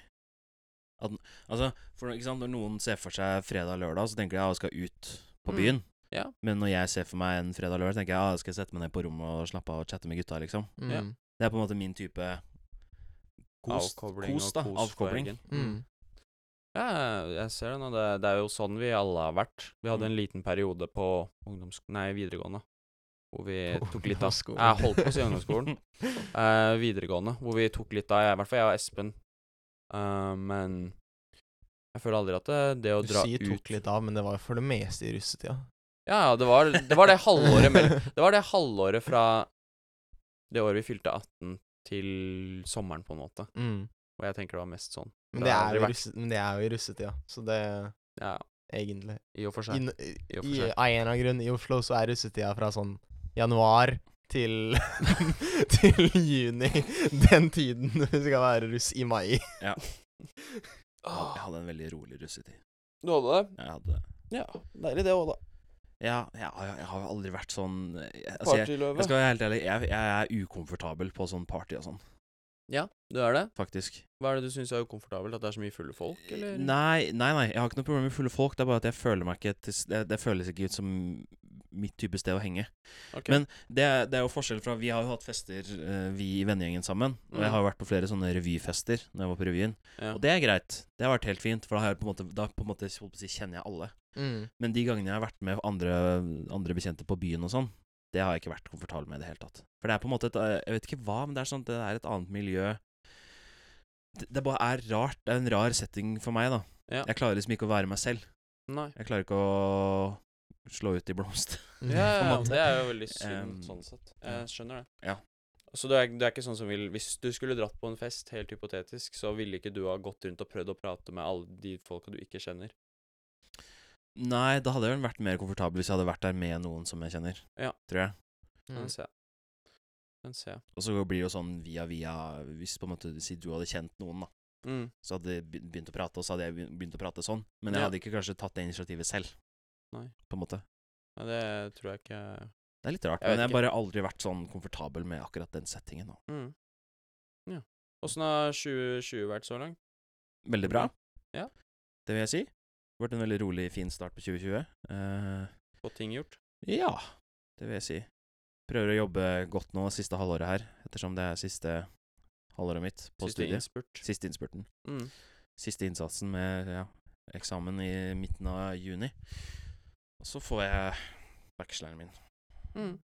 at, Altså, for ikke sant, når noen ser for seg fredag-lørdag, så tenker de at jeg skal ut på
Mm.
byen.
Ja.
Men når jeg ser for meg en fredag-lørdag, så tenker jeg at jeg skal sette meg ned på rommet og slappe av og chatte med gutta, liksom.
Mm.
Ja.
Det er på en måte min type kos,
Avkobling
kos
og
da.
kos på
Avkobling.
helgen.
Mm.
Ja, jeg ser det nå. Det, det er jo sånn vi alle har vært. Vi
Mm.
hadde en liten periode på ungdoms... Nei, videregående. Hvor vi
På
tok litt av
ungdomsskolen.
Jeg holdt på å si ungdomsskolen. Eh, videregående, hvor vi tok litt av, jeg- i hvert fall jeg og Espen. Eh, men jeg føler aldri at eh, det, det å
Du
dra
sier
ut
tok litt av, men det var jo for det meste i russetida.
Ja, ja, det var det, var det halvåret mellom Det var det halvåret fra det året vi fylte 18 til sommeren, på en måte.
mm.
Og jeg tenker det var mest sånn.
men,
Det
det
har
er
aldri
jo
vært.
russe, men det er jo i russetida, så det
Ja,
egentlig
i og for
I,
seg.
no- i,
I og for
i,
seg.
av en eller annen grunn, i Oslo så er russetida fra sånn januar til til juni. Den tiden du skal være russ i mai.
Jeg hadde- jeg hadde en veldig rolig russetid.
Du hadde det?
Jeg hadde
Ja. Deilig det òg, da.
Ja, jeg, jeg, jeg har aldri vært sånn jeg, altså, jeg, jeg skal være helt ærlig, jeg, jeg er ukomfortabel på sånn party og sånn,
Ja, du er det.
faktisk.
Hva er det du syns er ukomfortabelt? At det er så mye fulle folk, eller?
Eh, Nei, nei, nei, jeg har ikke noe problem med fulle folk. Det er bare at jeg føler meg ikke til, s- det, det føles ikke ut som mitt type sted å henge.
Ok.
Men det, er- det er jo forskjell fra Vi har jo hatt fester, eh, vi i vennegjengen sammen. Og jeg har jo vært på flere sånne revyfester når jeg var på revyen.
Mm. Ja.
Og det er greit. Det har vært helt fint, for da, har jeg på en måte, da på en måte, holdt på å si, kjenner jeg alle.
Mm.
Men de gangene jeg har vært med andre, andre bekjente på byen og sånn, det har jeg ikke vært komfortabel med i det hele tatt. For det er på en måte et eh, Jeg vet ikke hva, men det er sånn at det er et annet miljø. Det, det bare er rart. Det er en rar setting for meg, da.
Ja.
Jeg klarer liksom ikke å være meg selv.
Nei.
Jeg klarer ikke å slå ut i blomst.
Mm.
Ja, ja,
Mm, måte.
det er jo veldig synd
Em,
sånn sett.
ja.
Jeg skjønner det.
Ja.
Så du er, du er ikke sånn som vil Hvis du skulle dratt på en fest, helt hypotetisk, så ville ikke du ha gått rundt og prøvd å prate med alle de folka du ikke kjenner?
Nei, da hadde jeg vel vært mer komfortabel hvis jeg hadde vært der med noen som jeg kjenner.
Ja.
Tror jeg.
Mm.
Den ser jeg. Den ser jeg.
Og så blir det jo sånn via via Hvis på en måte si du hadde kjent noen, da,
Mm.
så hadde de be- begynt å prate, og så hadde jeg be- begynt å prate sånn. Men jeg
Ja.
hadde ikke kanskje tatt det initiativet selv.
Nei.
På en måte.
Nei, det tror jeg ikke
Det er litt rart,
Jeg vet
men jeg har
ikke.
bare aldri vært sånn komfortabel med akkurat den settingen. Da.
mm. Ja. Åssen har 2020 vært så langt?
Veldig bra.
Ja.
Det vil jeg si. Det har vært en veldig rolig, fin start på 2020. Eh,
Fått ting gjort?
ja, det vil jeg si. Prøver å jobbe godt nå siste halvåret her, ettersom det er siste halvåret mitt på
Siste
studiet.
innspurt?
Siste innspurten.
Mm.
Siste innsatsen med ja, eksamen i midten av juni. Og så får jeg bacheloren min,
Mm.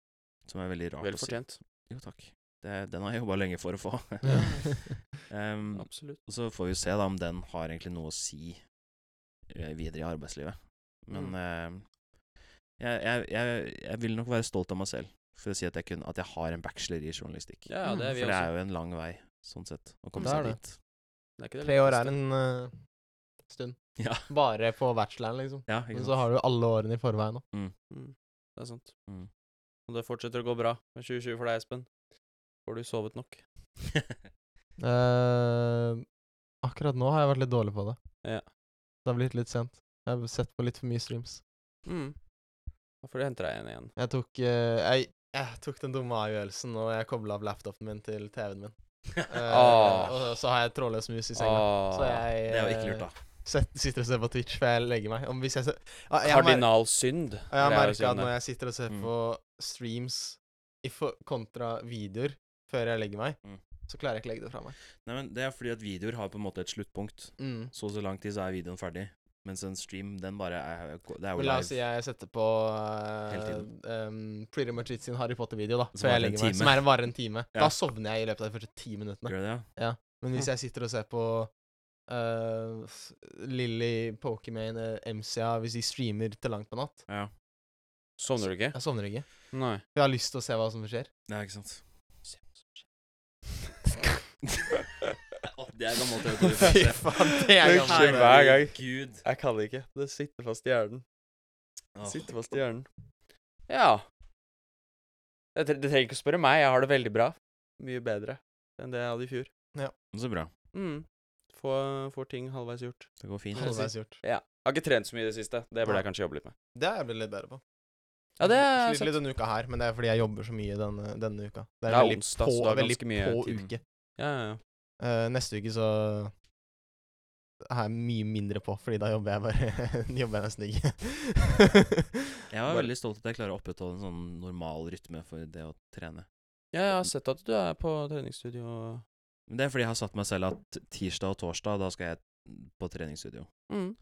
som er veldig rart
Vel
å si.
fortjent.
Jo, takk. Det, den har jeg jobba lenge for å få. um,
Absolutt.
Og så får vi se da om den har egentlig noe å si eh, videre i arbeidslivet. Men
Mm.
eh, jeg, jeg, jeg, jeg vil nok være stolt av meg selv for å si at jeg, kun, at jeg har en bachelor i journalistikk.
Ja, ja,
Mm,
det er vi
for det
også.
er jo en lang vei, sånn sett, å komme
Det er
seg
det.
dit.
Det er ikke det
Tre år
letteste.
er en eh, stund.
Ja.
Bare på bacheloren, liksom.
Ja,
Men
ikke
så
sant.
har du alle årene i forveien nå.
Mm, det er sant.
Mm.
Og det fortsetter å gå bra med 2020 for deg, Espen. Får du sovet nok?
Eh, akkurat nå har jeg vært litt dårlig på det.
Ja.
Det har blitt litt sent. Jeg har sett på litt for mye streams.
Mm. Da får du hente deg en igjen.
Jeg tok, eh, jeg, jeg tok den dumme avgjørelsen, og jeg kobla av laptopen min til TV-en min. Eh,
Åh.
Og så har jeg trådløs mus i senga.
Ah,
Så jeg
Ah. det er jo ikke
eh,
lurt, da.
sett- sitter og ser på Twitch før jeg legger meg. Om hvis jeg, ser- Ah, jeg, har mer-
Kardinal synd.
og jeg har
vil jeg jo si om
merka at
det.
når jeg sitter og ser
Mm.
på streams i for, kontra videoer før jeg legger meg,
Mm.
så klarer jeg ikke å legge det fra meg.
Nei, men det er fordi at videoer har på en måte et sluttpunkt.
Mm.
Så og så lang tid så er videoen ferdig. Mens en stream, den bare er, Det er jo
Men la oss si
live.
jeg setter på eh,
Hele tiden.
ehm, Pretty Much It sin Harry Potter-video, da.
Som
Før
er
jeg
en
legger meg.
time.
Som er varer en time.
Ja.
Da sovner jeg i løpet av de første ti minuttene.
Gjør det, ja?
Men hvis jeg sitter og ser på eh, s- Lilly, Pokemane, MCA Hvis de streamer til langt på natt
ja?
Sovner du ikke?
Jeg sovner ikke.
Nei.
For jeg har lyst til å se hva som skjer.
Ja, ikke sant? Å, det er gammelt øyeblikk.
Fy faen, det er
Men
gammelt.
shit. hver gang.
Gud.
Jeg kan det ikke. Det sitter fast i hjernen.
Åh.
Sitter fast i hjernen. Ja. Det, tre- det trenger ikke å spørre meg. Jeg har det veldig bra. Mye bedre enn det jeg hadde i fjor.
Men Så bra.
Mm. Få, får ting halvveis gjort.
Det går fint.
Halvveis gjort.
Jeg har ikke trent så mye i det siste. Det burde jeg kanskje jobbe litt med.
Det har jeg blitt litt bedre på.
Ja, det
Jeg
er
sliter litt denne uka her, men det er fordi jeg jobber så mye denne, denne uka. Det er
Ja,
veldig
onsdag,
på,
så du har
veldig
ganske mye
på
tid.
uke.
Ja, ja, ja.
Eh, neste uke så er jeg mye mindre på, fordi da jobber jeg bare jobber jeg nesten ikke.
Jeg var
Bare-
veldig stolt at jeg klarer å opprettholde en sånn normal rytme for det å trene.
Ja, jeg har sett at du er på treningsstudio. og-
Men Det er fordi jeg har satt meg selv at tirsdag og torsdag, da skal jeg på treningsstudio.
Mm.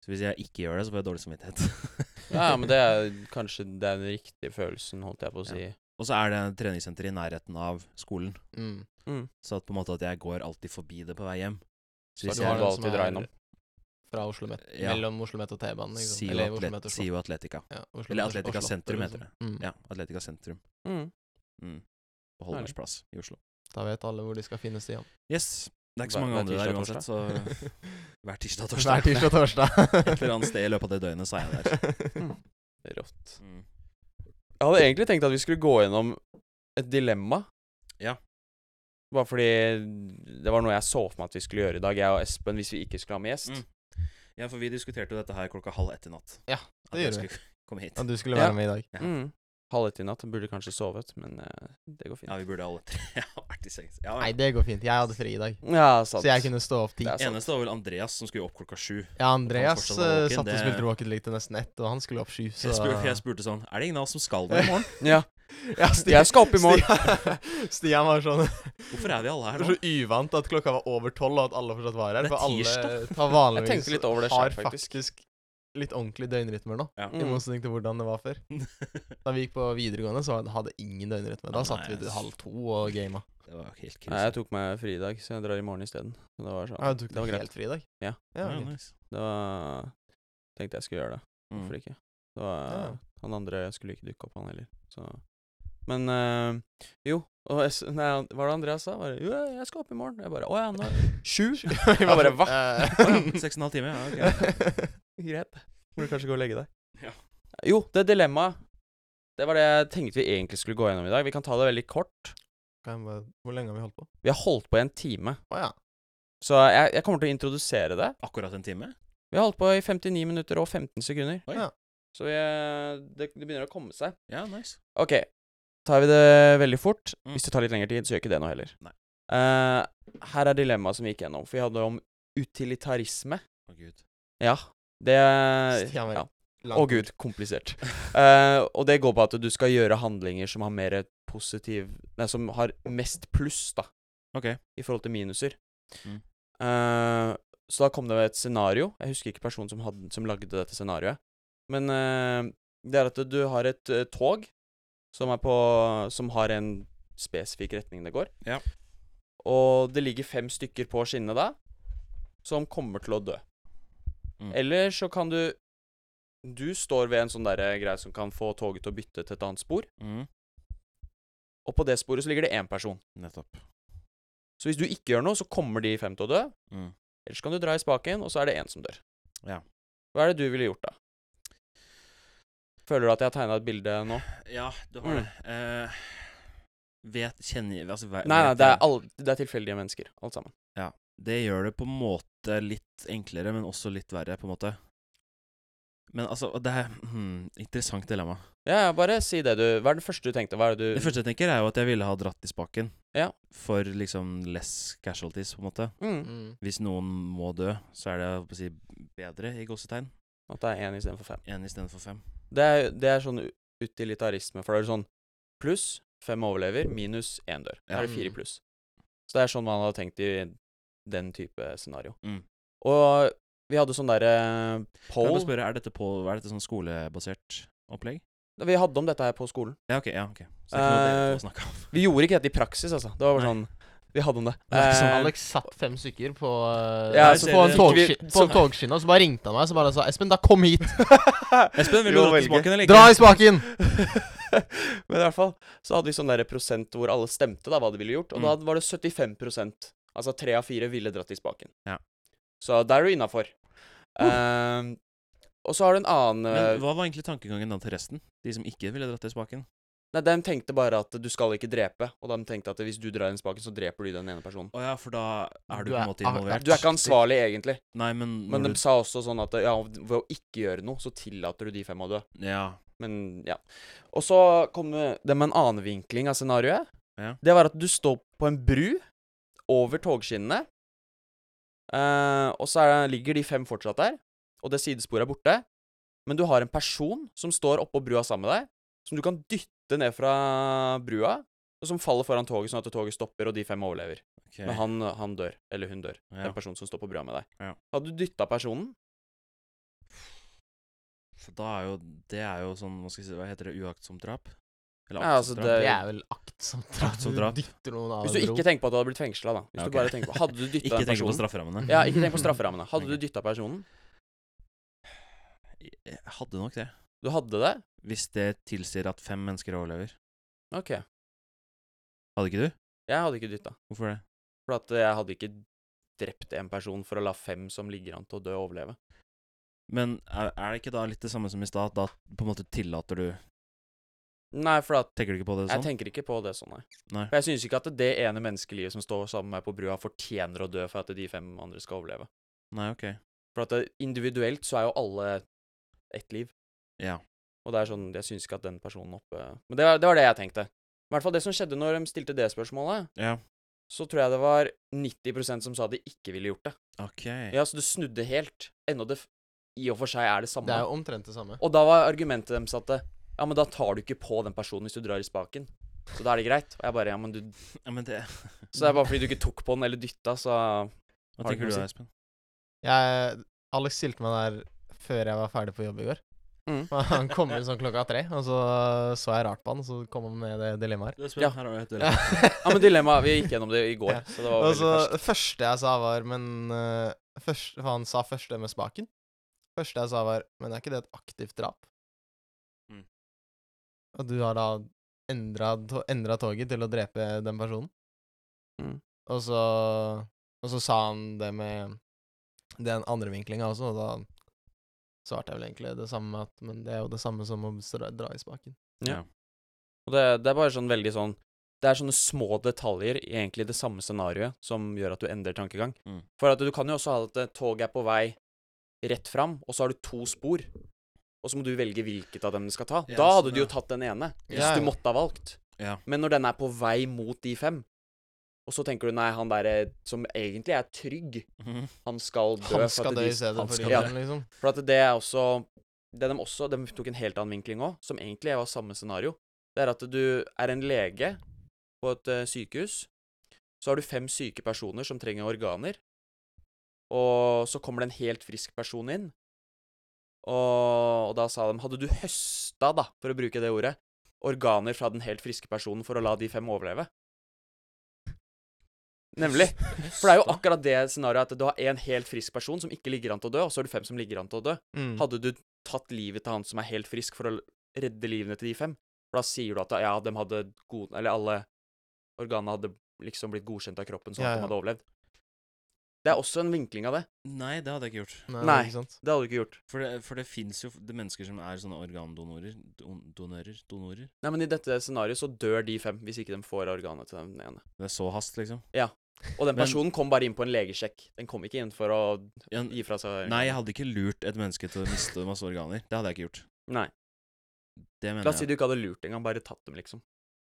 Så hvis jeg ikke gjør det, så får jeg dårlig samvittighet.
Ja, men det er kanskje den riktige følelsen, holdt jeg på å si.
Og så er det et treningssenter i nærheten av skolen,
mm.
Mm.
så at på en måte at jeg går alltid forbi det på vei hjem. Så
Så
hvis
du har
jeg
det
den som
alltid
er
dra innom.
Fra Oslo Met.
Ja.
Mellom Oslo Met og T-banen. ikke sant?
SIO
Eller Oslo Met
liksom Atlet,
og Slott-
SIO Atletica.
ja, Oslo Met
Eller
og Slott-
Atletica
og
sentrum
Slottet,
heter
liksom.
det.
Mm.
Ja, Atletica sentrum.
Mm.
Mm.
Herlig.
På Holmers plass i Oslo.
Da vet alle hvor de skal finne Stian.
Yes. Det er ikke så
Hver-
mange
hver
andre der
tirsdag og
uansett, så hver tirsdag og torsdag.
Hver tirsdag og torsdag. Mm.
Et eller annet sted i løpet av det døgnet, så er jeg der.
Rått. Jeg hadde egentlig tenkt at vi skulle gå gjennom et dilemma.
Ja.
Bare fordi det var noe jeg så for meg at vi skulle gjøre i dag, jeg og Espen, hvis vi ikke skulle ha med gjest.
Mm. Ja, for vi diskuterte jo dette her klokka halv ett i natt.
Ja,
At
det
jeg
gjorde vi.
skulle Komme hit.
Ja, du skulle
Ja.
være med i dag.
Ja.
Mm. Halv ett i natt. Burde kanskje sovet, men eh, det går fint.
Ja, vi burde alle tre ha vært i seng. Ja,
Nei, altså. det går fint. Jeg hadde fri i dag.
Ja, sant.
Så jeg kunne stå opp ti.
Det er sant.
Eneste var vel Andreas som skulle opp klokka sju.
Ja, Andreas
Han fortsatt var
eh,
våken,
satt og
det-
spilte Rocket League til nesten ett, og han skulle opp sju, så
Jeg spurte, jeg spurte sånn Er det ingen av oss som skal det i morgen?
Ja.
Ja, Stian-
Jeg skal opp i morgen.
Stian, Stian var sånn
Hvorfor er vi alle
Det
her
var
nå?
så uvant at klokka var over tolv, og at alle fortsatt var her.
Det er
For alle
tirsdag.
tar
Jeg
vanligvis
tenkte litt over det
har
selv, faktisk.
faktisk litt ordentlig døgnrytmer nå.
Ja.
I
Mm.
motsetning til hvordan det var før.
Det
Da vi gikk på videregående, så hadde ingen døgnrytme. Da
Nei,
satt vi til
ass.
halv to og gama.
var jo helt
Nei, jeg
krise.
tok meg fri i dag, så jeg drar i morgen isteden. Så Det var sånn.
Ja, du tok
det var
deg
greit.
helt fri i dag?
Ja.
Ja,
ok.
nice.
Da tenkte jeg skulle gjøre det.
Mm.
Hvorfor ikke? Det var,
Ja.
Han andre skulle ikke dukke opp, han heller. Så. Men eh, jo og jeg, s- nei, han- Hva var det Andreas sa? Bare, jo, jeg skal opp i morgen. Jeg bare Å ja, nå Sju?
Vi
Jeg bare,
sånn,
hva?
Å
eh,
ja, Seks og en halv time? Ja, ok.
Greit. Må du kanskje gå og legge deg.
Ja.
Jo, det dilemmaet. Det var det jeg tenkte vi egentlig skulle gå gjennom i dag. Vi kan ta det veldig kort.
Kan jeg bare- Hvor lenge har vi holdt på?
Vi har holdt på i en time,
Å ja.
så jeg, jeg kommer til å introdusere det.
Akkurat en time?
Vi har holdt på i 59 minutter og 15 sekunder.
Oi.
Ja.
Så vi, eh, det, det begynner å komme seg.
Ja, nice.
Ok, tar vi det veldig fort.
Mm.
Hvis det tar litt lengre tid, så gjør ikke det noe heller.
Nei.
Eh, her er dilemmaet som vi gikk gjennom, for vi hadde om utilitarisme.
Å gud.
Ja, det
Stian var
ja. Å
langt ord.
gud, komplisert. Eh, og det går på at du skal gjøre handlinger som har mer positiv Nei, som har mest pluss, da,
Ok.
i forhold til minuser.
Mm.
Eh, så da kom det et scenario. Jeg husker ikke personen som, hadde, som lagde dette scenarioet. Men eh, det er at du har et eh, tog som, er på, som har en spesifikk retning det går.
Ja.
Og det ligger fem stykker på skinnet da, som kommer til å dø.
Mm.
Eller så kan du Du står ved en sånn derre greie som kan få toget til å bytte til et annet spor,
Mm.
og på det sporet så ligger det én person.
Nettopp.
Så hvis du ikke gjør noe, så kommer de fem til å dø.
Mm.
Ellers kan du dra i spaken, og så er det én som dør.
Ja.
Hva er det du ville gjort, da? Føler du at jeg har tegna et bilde nå?
Ja, du har
Mm.
det. Eh, vet Kjenner altså,
Nei,
ve-
nei,
vet
det er,
jeg-
all, det er tilfeldige mennesker, alt sammen.
Det gjør det på en måte litt enklere, men også litt verre, på en måte. Men altså, det er hmm, Interessant dilemma.
Ja, ja, bare si det du Hva er det første du tenkte? Hva er det du
Det første jeg tenker, er jo at jeg ville ha dratt i spaken.
Ja.
For liksom less casualties, på en måte.
mm,
Mm.
Hvis noen må dø, så er det jeg holdt på å si, bedre, i gåsetegn.
At det er én istedenfor fem.
Én istedenfor fem.
Det er, det er sånn u- utilitarisme, for det er sånn pluss fem overlever, minus én dør. Da er det
Ja.
Mm.
fire i pluss. Så det er sånn man hadde tenkt i den type scenario.
Mm.
Og Vi hadde sånn derre uh,
Kan jeg bare
poll
spørre, er dette, på, er dette sånn skolebasert opplegg? Eh,
Vi hadde om dette her på skolen.
Ja, ok. ja, ok Så det er ikke noe dere får snakke om.
Vi gjorde ikke dette i praksis, altså. Det var bare sånn Vi hadde om det.
Det er ikke sånn
Eh,
Alex satt fem stykker på, eh,
Ja,
nei,
så-
på en
så-
togski-
vi-
på
så-
en togskinne, og så bare ringte han meg og så bare sa 'Espen, da kom hit!
Espen, vil du
Jo,
dra til
velge.
smaken, eller ikke?
Dra i spaken!'
Men i hvert fall så hadde vi sånn der prosent hvor alle stemte da hva de ville gjort, og da
Mm.
var det 75 Altså tre av fire ville dratt i spaken.
Ja.
Så der er du innafor. Ehm, og så har du en annen eh,
Men hva var egentlig tankegangen da til resten? De som ikke ville dratt til spaken?
Nei, de tenkte bare at du skal ikke drepe, og de tenkte at hvis du drar inn spaken, så dreper du den ene personen.
Å ja, for da er du,
Du
på
er-
en måte
ah,
involvert.
Du er ikke ansvarlig egentlig,
Nei, men
men
når
de sa også sånn at ja, ved å ikke gjøre noe, så tillater du de fem å dø.
du Ja.
Men ja. Og så kom det med en annen vinkling av scenarioet.
Ja.
Det var at du står på en bru over togskinnene, eh, og så er, ligger de fem fortsatt der, og det sidesporet er borte. Men du har en person som står oppå brua sammen med deg, som du kan dytte ned fra brua, og som faller foran toget, sånn at toget stopper, og de fem overlever.
ok.
Men han, han dør, eller hun dør.
ja.
Den personen som står på brua med deg.
Ja.
Hadde du dytta personen?
For da er jo Det er jo sånn Hva, skal jeg si, hva heter det? Uaktsomt drap? Eller
Ja, altså,
aktsomt drap?
det-
Det er vel aktsomt drap.
Aktsomt
Du
drap.
Dytter noen av
Hvis du
en bro.
ikke tenker på at du hadde blitt fengsla, da. Hvis
Ja,
du
ok.
bare tenker på Hadde du dytta
Ikke
den
tenke på
personen?
strafferammene.
Ja, ikke tenk på strafferammene. Hadde du
Ok.
dytta personen?
Jeg hadde nok det.
Du hadde det?
Hvis det tilsier at fem mennesker overlever.
OK.
Hadde ikke du?
Jeg hadde ikke dytta.
Hvorfor det?
For at jeg hadde ikke drept en person for å la fem som ligger an til å dø, overleve.
Men er, er det ikke da litt det samme som i stad? at Da på en måte tillater du
Nei, for at
Tenker du ikke på det
jeg
sånn?
tenker ikke på det sånn, nei.
Nei.
For jeg syns ikke at det ene menneskelivet som står sammen med meg på brua, fortjener å dø for at de fem andre skal overleve.
Nei, ok.
For at det, individuelt så er jo alle ett liv.
Ja.
Og det er sånn, jeg syns ikke at den personen oppe Men det var det, var det jeg tenkte. I hvert fall det som skjedde når de stilte det spørsmålet,
Ja.
så tror jeg det var 90 som sa de ikke ville gjort det.
Ok.
Ja, så du snudde helt. Ennå det f- i og for seg er det samme.
Det er jo omtrent det samme.
Og da var argumentet deres at eh, ja, men da tar du ikke på den personen hvis du drar i spaken. Så da er det greit. Og jeg bare, ja, men du
Ja, men det
Så det er bare fordi du ikke tok på den eller dytta, så
Hva
Har du
tenker
noe
du
å
da,
si?
Espen?
Jeg, Alex stilte meg der før jeg var ferdig på jobb i går.
mm.
Han kom inn sånn klokka tre, og så så jeg rart på han, og så kom han med det dilemmaet her.
Ja.
her har du et
Ja.
Ja, men dilemmaet Vi gikk gjennom det i går,
Ja.
så det var
Og
veldig ferskt.
så det Altså, første jeg sa var Men eh, først, hva han sa først det med spaken? Første jeg sa var Men er ikke det et aktivt drap?
Mm.
Og du har da endra, to- endra toget til å drepe den personen?
Mm.
Og så Og så sa han det med den andre vinklinga også, og da svarte jeg vel egentlig det samme med at Men det er jo det samme som å stra- dra i spaken.
Og det, det er bare sånn veldig sånn Det er sånne små detaljer i egentlig det samme scenarioet som gjør at du endrer tankegang.
Mm.
For at du kan jo også ha at eh, toget er på vei rett fram, og så har du to spor. Og så må du velge hvilket av dem du skal ta.
Ja,
da
sånn,
hadde du
ja.
jo tatt den ene, hvis
Ja,
du
ja.
måtte ha valgt.
Ja.
Men når den er på vei mot de fem, og så tenker du nei, han derre som egentlig er trygg,
Mhm.
han skal dø.
Han
for
skal
at
dø
de-
i stedet
han
for
skal
de
dø.
andre, liksom.
For at det er også det de også De tok en helt annen vinkling òg, som egentlig var samme scenario. Det er at du er en lege på et eh, sykehus. Så har du fem syke personer som trenger organer. Og så kommer det en helt frisk person inn. Og, og da sa de Hadde du høsta, da, for å bruke det ordet, organer fra den helt friske personen for å la de fem overleve? Nemlig. For det er jo akkurat det scenarioet at du har en helt frisk person som ikke ligger an til å dø, og så er det fem som ligger an til å dø.
Mm.
Hadde du tatt livet til han som er helt frisk, for å l- redde livene til de fem? For da sier du at ja, de hadde god... Eller alle organene hadde liksom blitt godkjent av kroppen, sånn
Ja,
at
ja.
de hadde overlevd. Det er også en vinkling av det.
Nei, det hadde jeg ikke gjort.
Nei,
Nei.
Ikke sant?
Det hadde du ikke gjort.
For det, for det fins jo det mennesker som er sånne organdonorer. Don, donører? Donorer?
Nei, men i dette scenarioet så dør de fem hvis ikke de får organet til den ene.
Det er så hast, liksom.
Og den
Men-
personen kom bare inn på en legesjekk. Den kom ikke inn for å
Ja,
gi fra seg
nei, jeg hadde ikke lurt et menneske til å miste masse organer. Det hadde jeg ikke gjort.
Nei.
Det
La oss
mener
si
jeg.
du ikke hadde lurt engang, bare tatt dem, liksom.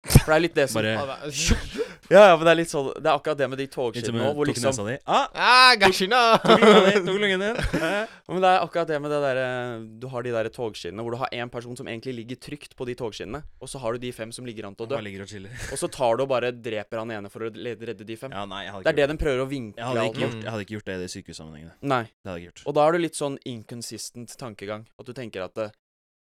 For det er litt det som
Bare
Ja, det er-
Ja, ja, men det er litt sånn Det er akkurat det med de
Litt som
togskinnene nå,
hun
hvor
tok
liksom
nesa di. Ah,
Ah, gashina!
tok lungen din, tok lungen din. Eh.
Men det er akkurat det med det derre Du har de derre togskinnene hvor du har én person som egentlig ligger trygt på de togskinnene, og så har du de fem som ligger an til å dø,
Bare ligger og chiller.
og så tar du og bare dreper han ene for å le- redde de fem.
Ja, nei, jeg hadde
Det
ikke
er det
gjort
de prøver å vinkle
jeg hadde,
alt
ikke
med.
gjort, jeg hadde ikke gjort det i de sykehussammenhengene.
Nei.
Det hadde jeg ikke gjort.
Og da er du litt sånn inconsistent tankegang. At du tenker at eh,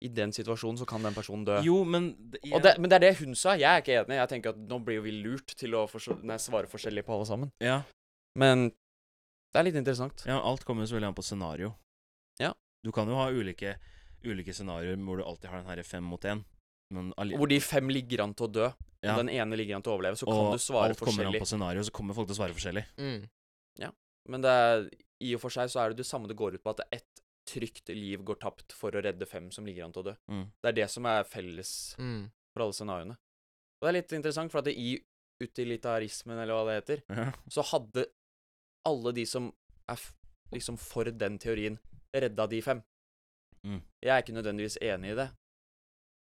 i den situasjonen så kan den personen dø.
Jo, men det-
Og det, men det er det hun sa. Jeg er ikke enig. Jeg tenker at nå blir jo vi lurt til å forså- nei, svare forskjellig på alle sammen.
ja,
Men det er litt interessant.
ja, alt kommer så veldig an på scenario.
Ja.
Du kan jo ha ulike, ulike scenarioer hvor du alltid har den herre fem mot én, men alli-
Hvor de fem ligger an til å dø,
Ja.
og den ene ligger an til å overleve, så kan
Og
du svare
alt kommer an
forskjellig.
på scenario, så kommer folk til å svare forskjellig.
Mm.
Men det er, i og for seg så er det det samme det går ut på, at ett trygt liv går tapt for å redde fem som ligger an til å dø.
Mm.
Det er det som er felles
Mm.
for alle scenarioene. Og det er litt interessant, for at det i utilitarismen, eller hva det heter,
Ja.
så hadde alle de som er f liksom for den teorien, redda de fem.
Mm.
Jeg er ikke nødvendigvis enig i det.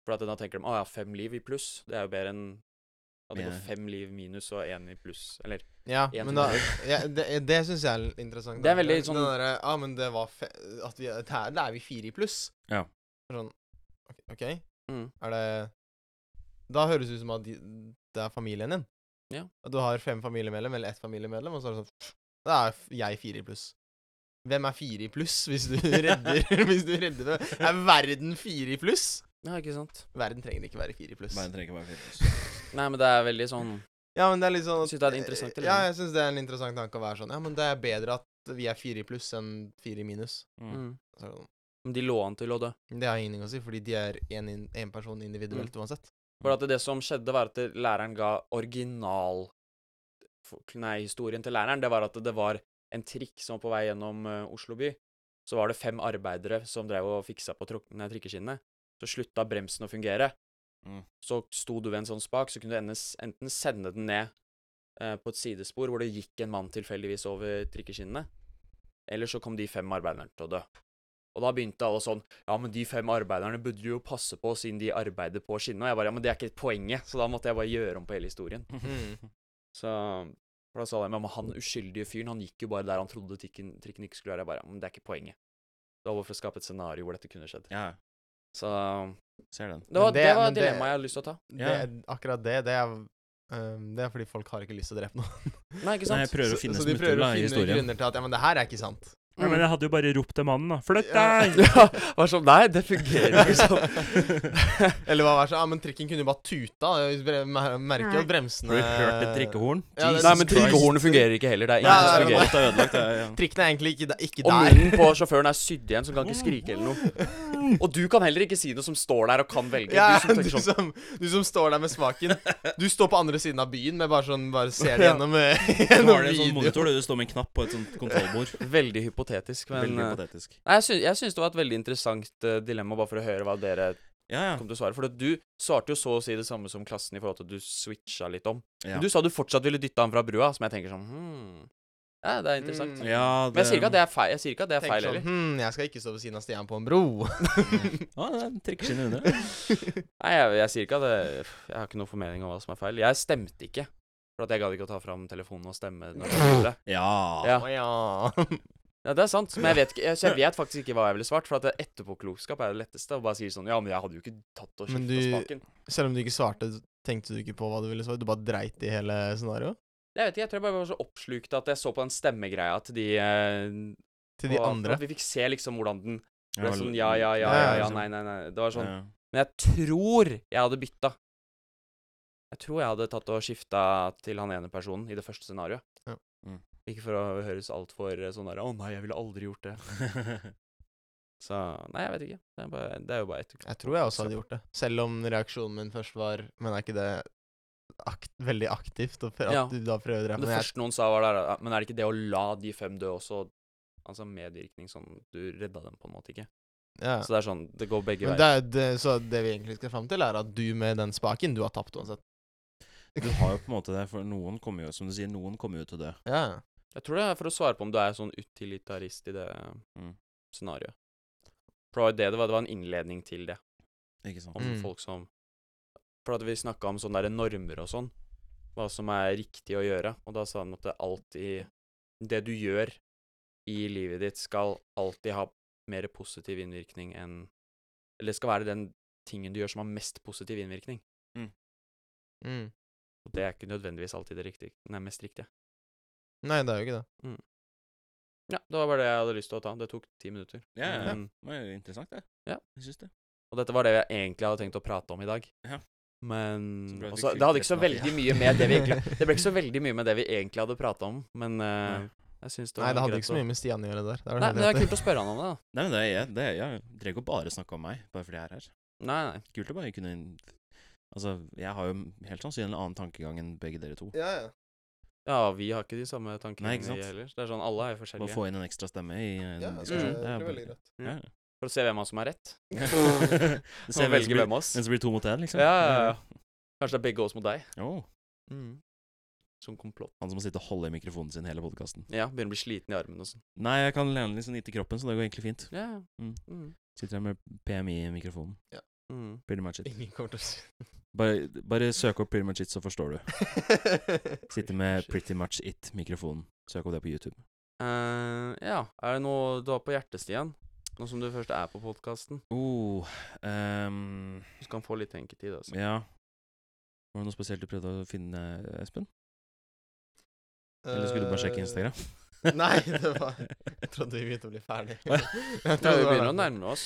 For at da tenker de å ja, fem liv i pluss, det er jo bedre enn at det går
Mer.
fem liv minus og én i pluss, eller
Ja,
En til
men da, ja, det, det syns jeg er litt interessant.
Det er veldig
Den
sånn-
derre, ah, men det var fe at vi, det her, Da er vi fire i pluss.
Ja.
Sånn, ok, OK,
mm.
er det Da høres det ut som at de, det er familien din.
Ja.
At du har fem familiemedlem, eller ett familiemedlem, og så er det sånn Da er f- jeg fire i pluss. Hvem er fire i pluss hvis du redder Hvis du redder det? Er verden fire i pluss?
Ja, ikke sant?
Verden trenger ikke være fire i pluss.
Verden trenger ikke være fire.
Nei, men det er veldig sånn
Ja, men det er litt sånn at-
Synes det er et interessant dilemma.
Ja, jeg syns det er en interessant tanke å være sånn Ja, men det er bedre at vi er fire i pluss enn fire i minus.
Mm.
mm.
Så er det sånn.
Om de lå an til å dø.
Det har ingenting å si, fordi de er én person individuelt
Mm.
uansett.
For at det som skjedde, var at læreren ga original for- Nei, historien til læreren, det var at det var en trikk som var på vei gjennom eh, Oslo by. Så var det fem arbeidere som drev og fiksa på truk- nei, trikkeskinnene. Så slutta bremsen å fungere.
Mm.
Så sto du ved en sånn spak, så kunne du ende- enten sende den ned eh, på et sidespor hvor det gikk en mann tilfeldigvis over trikkeskinnene, eller så kom de fem arbeiderne til å dø. Og da begynte alle sånn Ja, men de fem arbeiderne burde jo passe på, siden de arbeider på skinnene. Og jeg bare Ja, men det er ikke poenget. Så da måtte jeg bare gjøre om på hele historien.
Mm.
Så for da sa de, ja, men han uskyldige fyren, han gikk jo bare der han trodde trikken, trikken ikke skulle være. Jeg bare, ja, men det er ikke poenget. Det var bare for å skape et scenario hvor dette kunne skjedd.
Ja,
Så
ser den.
det var,
Men
det,
det-
var
men det-
dilemmaet jeg hadde lyst til å ta.
Ja.
Det, akkurat det, det er øhm, Det er fordi folk har ikke lyst til å drepe noen.
Nei, ikke
Nei,
sant?
jeg prøver å
Så,
finne
så de prøver
smutthull
å
i
finne
historien.
grunner til at Ja, men det her er ikke sant.
Ja, men jeg hadde jo bare ropt til mannen, da. Flytt
Ja.
deg!
Ja, var sånn Nei, det fungerer ikke sånn.
Eller hva var det? Ja, men trikken kunne jo bare tuta. Jeg bre- mer- Merker jo at bremsene
Har du hørt et drikkehorn?
Ja,
Nei, men
det- Jesus Christ.
trikkehornet fungerer ikke heller. Det er
Ja,
ingen som
det er
fungerer.
Alt er ødelagt. det er- ja.
Trikken er egentlig ikke, ikke
Og
der.
munnen på sjåføren er sydd igjen, så han kan ikke skrike eller noe. Og du kan heller ikke si noe som står der og kan velge.
Ja,
du som tenker sånn
som, du som står der med smaken. Du står på andre siden av byen, men bare sånn Bare ser det
Ja.
gjennom, eh,
Du
gjennom
har det en sånn
video.
monitor, du, det står med en knapp på et sånt kontrollbord.
Veldig hypotetisk, men
Veldig
eh,
hypotetisk.
Nei, jeg, syns, jeg syns det var et veldig interessant eh, dilemma, bare for å høre hva dere
Ja, ja.
kom til å svare. For at du svarte jo så å si det samme som klassen i forhold til at du switcha litt om.
Ja,
Men du sa du fortsatt ville dytte han fra brua, som jeg tenker sånn hmm. Ja, det er interessant.
Mm.
ja det,
Men jeg sier ikke at det er feil, jeg sier ikke at det er
Tenker
feil
sånn,
heller.
Hm, jeg skal ikke stå ved siden av Stian på en bro.
Ja, det er trikkeskinnet under.
Nei, jeg, jeg sier ikke at det Jeg har ikke noen formening om hva som er feil. Jeg stemte ikke. For at jeg gadd ikke å ta fram telefonen og stemme. Når jeg skulle.
Ja.
Ja.
Å ja.
ja, det er sant. Men jeg vet, ikke, jeg, så jeg vet faktisk ikke hva jeg ville svart. For at det- etterpåklokskap er det letteste. Å bare si sånn Ja, men jeg hadde jo ikke tatt og skifta
Men du-
spaken.
Selv om du ikke svarte, tenkte du ikke på hva du ville svare? Du bare dreit i hele scenarioet?
Jeg vet ikke, jeg tror jeg bare var så oppslukt at jeg så på den stemmegreia til de eh,
Til de
Og
andre?
At vi fikk se liksom hvordan den
Ja,
ble
vel-
sånn ja, ja, ja,
Ja,
ja,
ja,
ja,
liksom.
nei, nei, nei. Det var sånn.
Ja.
Men jeg tror jeg hadde bytta. Jeg tror jeg hadde tatt og skifta til han ene personen i det første scenarioet.
Ja.
Mm.
Ikke for å høres altfor sånn der Å nei, jeg ville aldri gjort det. Så Nei, jeg vet ikke. Det er, bare, det er jo bare et
Jeg tror jeg også hadde gjort det. Selv om reaksjonen min først var Men er ikke det akt, veldig aktivt å prø- at
Ja.
du da prøver å
Men
drepe
Det
meg?
første noen sa, var der «Ja, Men er det ikke det å la de fem dø også Altså medvirkning sånn Du redda dem på en måte, ikke?
Ja.
Så det er sånn Det går begge
Men
veier.
det, er- det, så det vi egentlig skal fram til, er at du med den spaken, du har tapt uansett.
Du har jo på en måte det, for noen kommer jo, som du sier, noen kommer jo til å dø.
Ja.
Jeg tror det er for å svare på om du er sånn utilitarist i det
Mm.
scenarioet. For det var jo det det var. Det var en innledning til det.
Ikke sant?
Om
Mm.
folk som For at vi snakka om sånne der normer og sånn. hva som er riktig å gjøre, og da sa han at det alltid Det du gjør i livet ditt, skal alltid ha mer positiv innvirkning enn Eller skal være den tingen du gjør som har mest positiv innvirkning.
Mm.
Og det er ikke nødvendigvis alltid det riktige. Nei, mest riktige.
Nei, det er jo ikke det.
Ja, det var bare det jeg hadde lyst til å ta. Det tok ti minutter.
Ja, ja, ja.
Men-
Det var jo interessant, det.
Ja.
Jeg syns det.
Og dette var det jeg egentlig hadde tenkt å prate om i dag.
Ja.
Men
Så ble det
også,
kult
Det hadde ikke så
resten av
veldig mye med det vi egentlig Det ble ikke så veldig mye med det vi egentlig hadde prata om, men eh, jeg syns det var
Nei, det hadde
greit
ikke så
å-
mye med Stian å gjøre det der. Det er vel
Nei, men det
helt
er
rett.
kult å spørre han om det, da.
Nei, men det er jeg. Det er jeg. jeg trenger ikke å bare snakke om meg, bare fordi jeg er her.
Nei, nei.
Kult å bare kunne Altså, jeg har jo helt sannsynlig en annen tankegang enn begge dere to.
Ja, ja.
Ja, vi har ikke de samme tankene,
Nei, ikke
vi
sant?
heller. Det er sånn, alle er jo
Bare
forskjellige.
få inn en ekstra stemme i en
Ja, det
diskusjon.
er-
Det
det
er
er veldig
bare-
greit.
Mm. Ja.
For å se hvem av oss som har rett. Så
Du ser hvem som
velge
blir,
hvem av oss.
hvem som blir to mot én, liksom.
Ja, ja, ja. Kanskje det er begge oss mot deg.
Åh,
Mm. Som komplott.
han som må sitte og holde i mikrofonen sin hele podkasten.
Ja, begynner å bli sliten i armen og sånn.
Nei, jeg kan lene litt sånn inntil kroppen, så det går egentlig fint.
Ja, ja.
Mm.
Mm.
Sitter her med PMI i mikrofonen.
Mm.
Pretty much it.
Ingen kommer til å si
Bare, bare søk opp pretty much it, så forstår du. Sitter med
Shit.
pretty much it-mikrofonen. Søk opp det på YouTube.
Eh, ja, er det noe du har på hjertet, Stian? Nå som du først er på podkasten.
Oh, ehm,
Du kan få litt tenketid, altså.
ja Var det noe spesielt du prøvde å finne, Espen? Eller skulle du bare sjekke Instagram?
Eh, Nei, det var- Jeg trodde vi begynte å bli ferdig.
Åja.
Jeg
Ja,
trodde
vi
det var
begynner å
derfor.
nærme oss,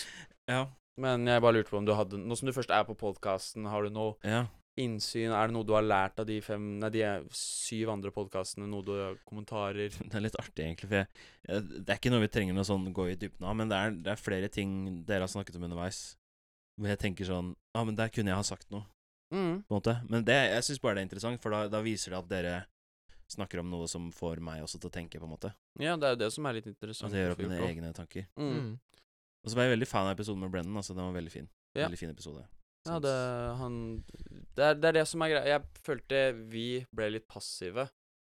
Ja.
men jeg bare lurte på om du hadde Nå som du først er på podkasten, har du noe
ja.
innsyn? Er det noe du har lært av de fem Nei, de er syv andre podkastene? Noe du har kommentarer?
Det er litt artig, egentlig. For jeg, jeg, det er ikke noe vi trenger noe sånn gå i dybden av, men det er, det er flere ting dere har snakket om underveis. Hvor jeg tenker sånn Ja, ah, men der kunne jeg ha sagt noe,
Mm.
på en måte. Men det, jeg syns bare det er interessant, for da, da viser det at dere snakker om noe som får meg også til å tenke, på en måte.
Ja, det er jo det som er litt
At
interessant.
jeg gjør
å
opp mine
fyre på.
egne tanker.
Mm.
Mm.
Og så var jeg veldig fan av episoden med Brennan. Altså, den var veldig fin.
Ja.
Veldig fin episode. Sånn
Ja,
Syns-
det, han, det, er, det er det som er greia. Jeg følte vi ble litt passive.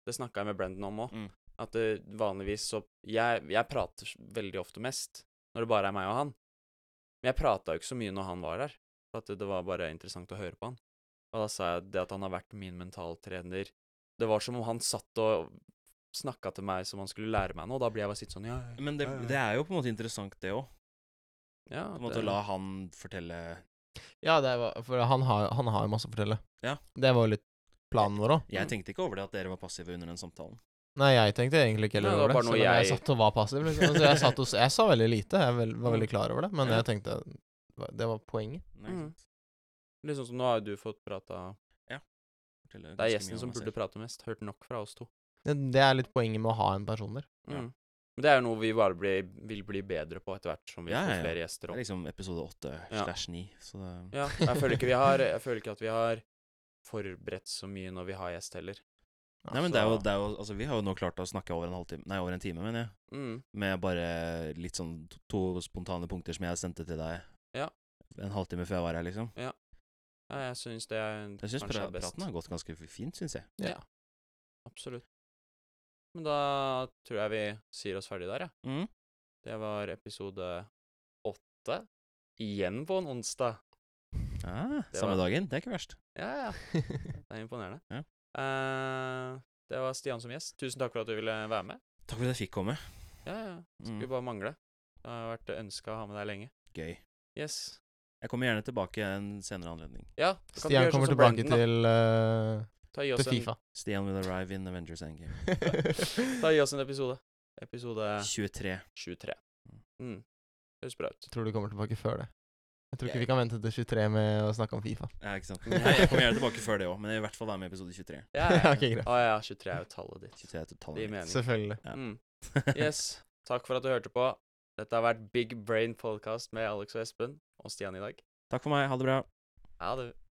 Det snakka jeg med Brendan om òg.
Mm.
At det, vanligvis så jeg, jeg prater s- veldig ofte mest når det bare er meg og han. Men jeg prata jo ikke så mye når han var her. For at det, det var bare interessant å høre på han. Og da sa jeg det at han har vært min mentaltrener Det var som om han satt og snakka til meg som han skulle lære meg noe. og Da blir jeg bare sitt sånn Ja, ja,
Men det,
ja, ja.
det er jo på en måte interessant, det òg.
ja,
På en måte
det-
å la han fortelle
Ja, det var, for han har, han har jo masse å fortelle.
Ja.
Det var jo litt planen vår òg.
Mm.
Jeg tenkte ikke over det at dere var passive under den samtalen.
Nei, jeg tenkte egentlig ikke
Nei,
heller
det
over
var
det.
bare
Selv
noe
om jeg
jeg-
satt og var passiv. Liksom. Så jeg, satt og, s- jeg sa veldig lite. Jeg vel, var veldig klar over det, men
Ja.
jeg tenkte Det var poenget.
Nei, ikke
Mm.
sant?
Litt sånn som nå har jo du fått prata
Fortelle
Det er
ganske mye
gjesten
om
som
meg
burde
selv.
prate mest. Hørt nok fra oss to.
Det, det er litt poenget med å ha en person der.
Ja.
Mm. Men det er jo noe vi bare blir- vil bli bedre på etter hvert som vi
Ja, ja,
får
ja.
flere gjester
Det er
opp.
liksom episode åtte
Ja.
slash ni, så det
Ja, og jeg føler ikke vi har Jeg føler ikke at vi har forberedt så mye når vi har gjest heller.
Nei, men det er, jo,
Altså-
det er jo Altså, vi har jo nå klart å snakke over en halvtime Nei, over en time, mener jeg.
Mm.
Med bare litt sånn to, to spontane punkter som jeg sendte til deg
Ja.
en halvtime før jeg var her, liksom.
Ja, jeg syns det er
Jeg syns
kanskje
pra
er best.
praten har gått ganske fint, syns jeg.
Ja. Absolutt. Men da tror jeg vi sier oss ferdig der, ja.
Mm.
Det var episode åtte. Igjen på en onsdag.
Ah,
Det
samme
var-
dagen, det er ikke verst.
Ja, ja. Det er imponerende.
Ja.
Eh, det var Stian som gjest. Tusen takk for at du ville være med.
Takk for at jeg fikk komme.
Ja, ja.
Mm.
Skulle bare mangle. Det har vært ønska å ha med deg lenge.
Gøy.
Yes.
Jeg kommer gjerne tilbake en senere anledning.
Ja, du kan ikke
Stian
gjøre
kommer
sånn som
tilbake
Brandon, da.
til, eh,
Ta gi oss
til Fifa.
Stian will arrive in Avengers Endgame.
En, ta gi oss en episode. Episode
23.
23. Mm. Høres bra ut.
Jeg tror du kommer tilbake før det. Jeg tror ikke
Jeg-
vi kan vente til 23 med å snakke om Fifa.
Ja, ikke sant. Nei, jeg kommer gjerne tilbake før det òg, men jeg vil i hvert fall være med i episode 23.
Ja, ja.
ok, greit.
Å ja, 23 er jo tallet ditt.
23 er totalt
Det gir
mitt.
mening.
Selvfølgelig.
Ja.
Mm. Yes. Takk for at du hørte på. Dette har vært Big Brain Podcast med Alex og Espen og Stian i dag.
Takk for meg. Ha det bra.
Ha det.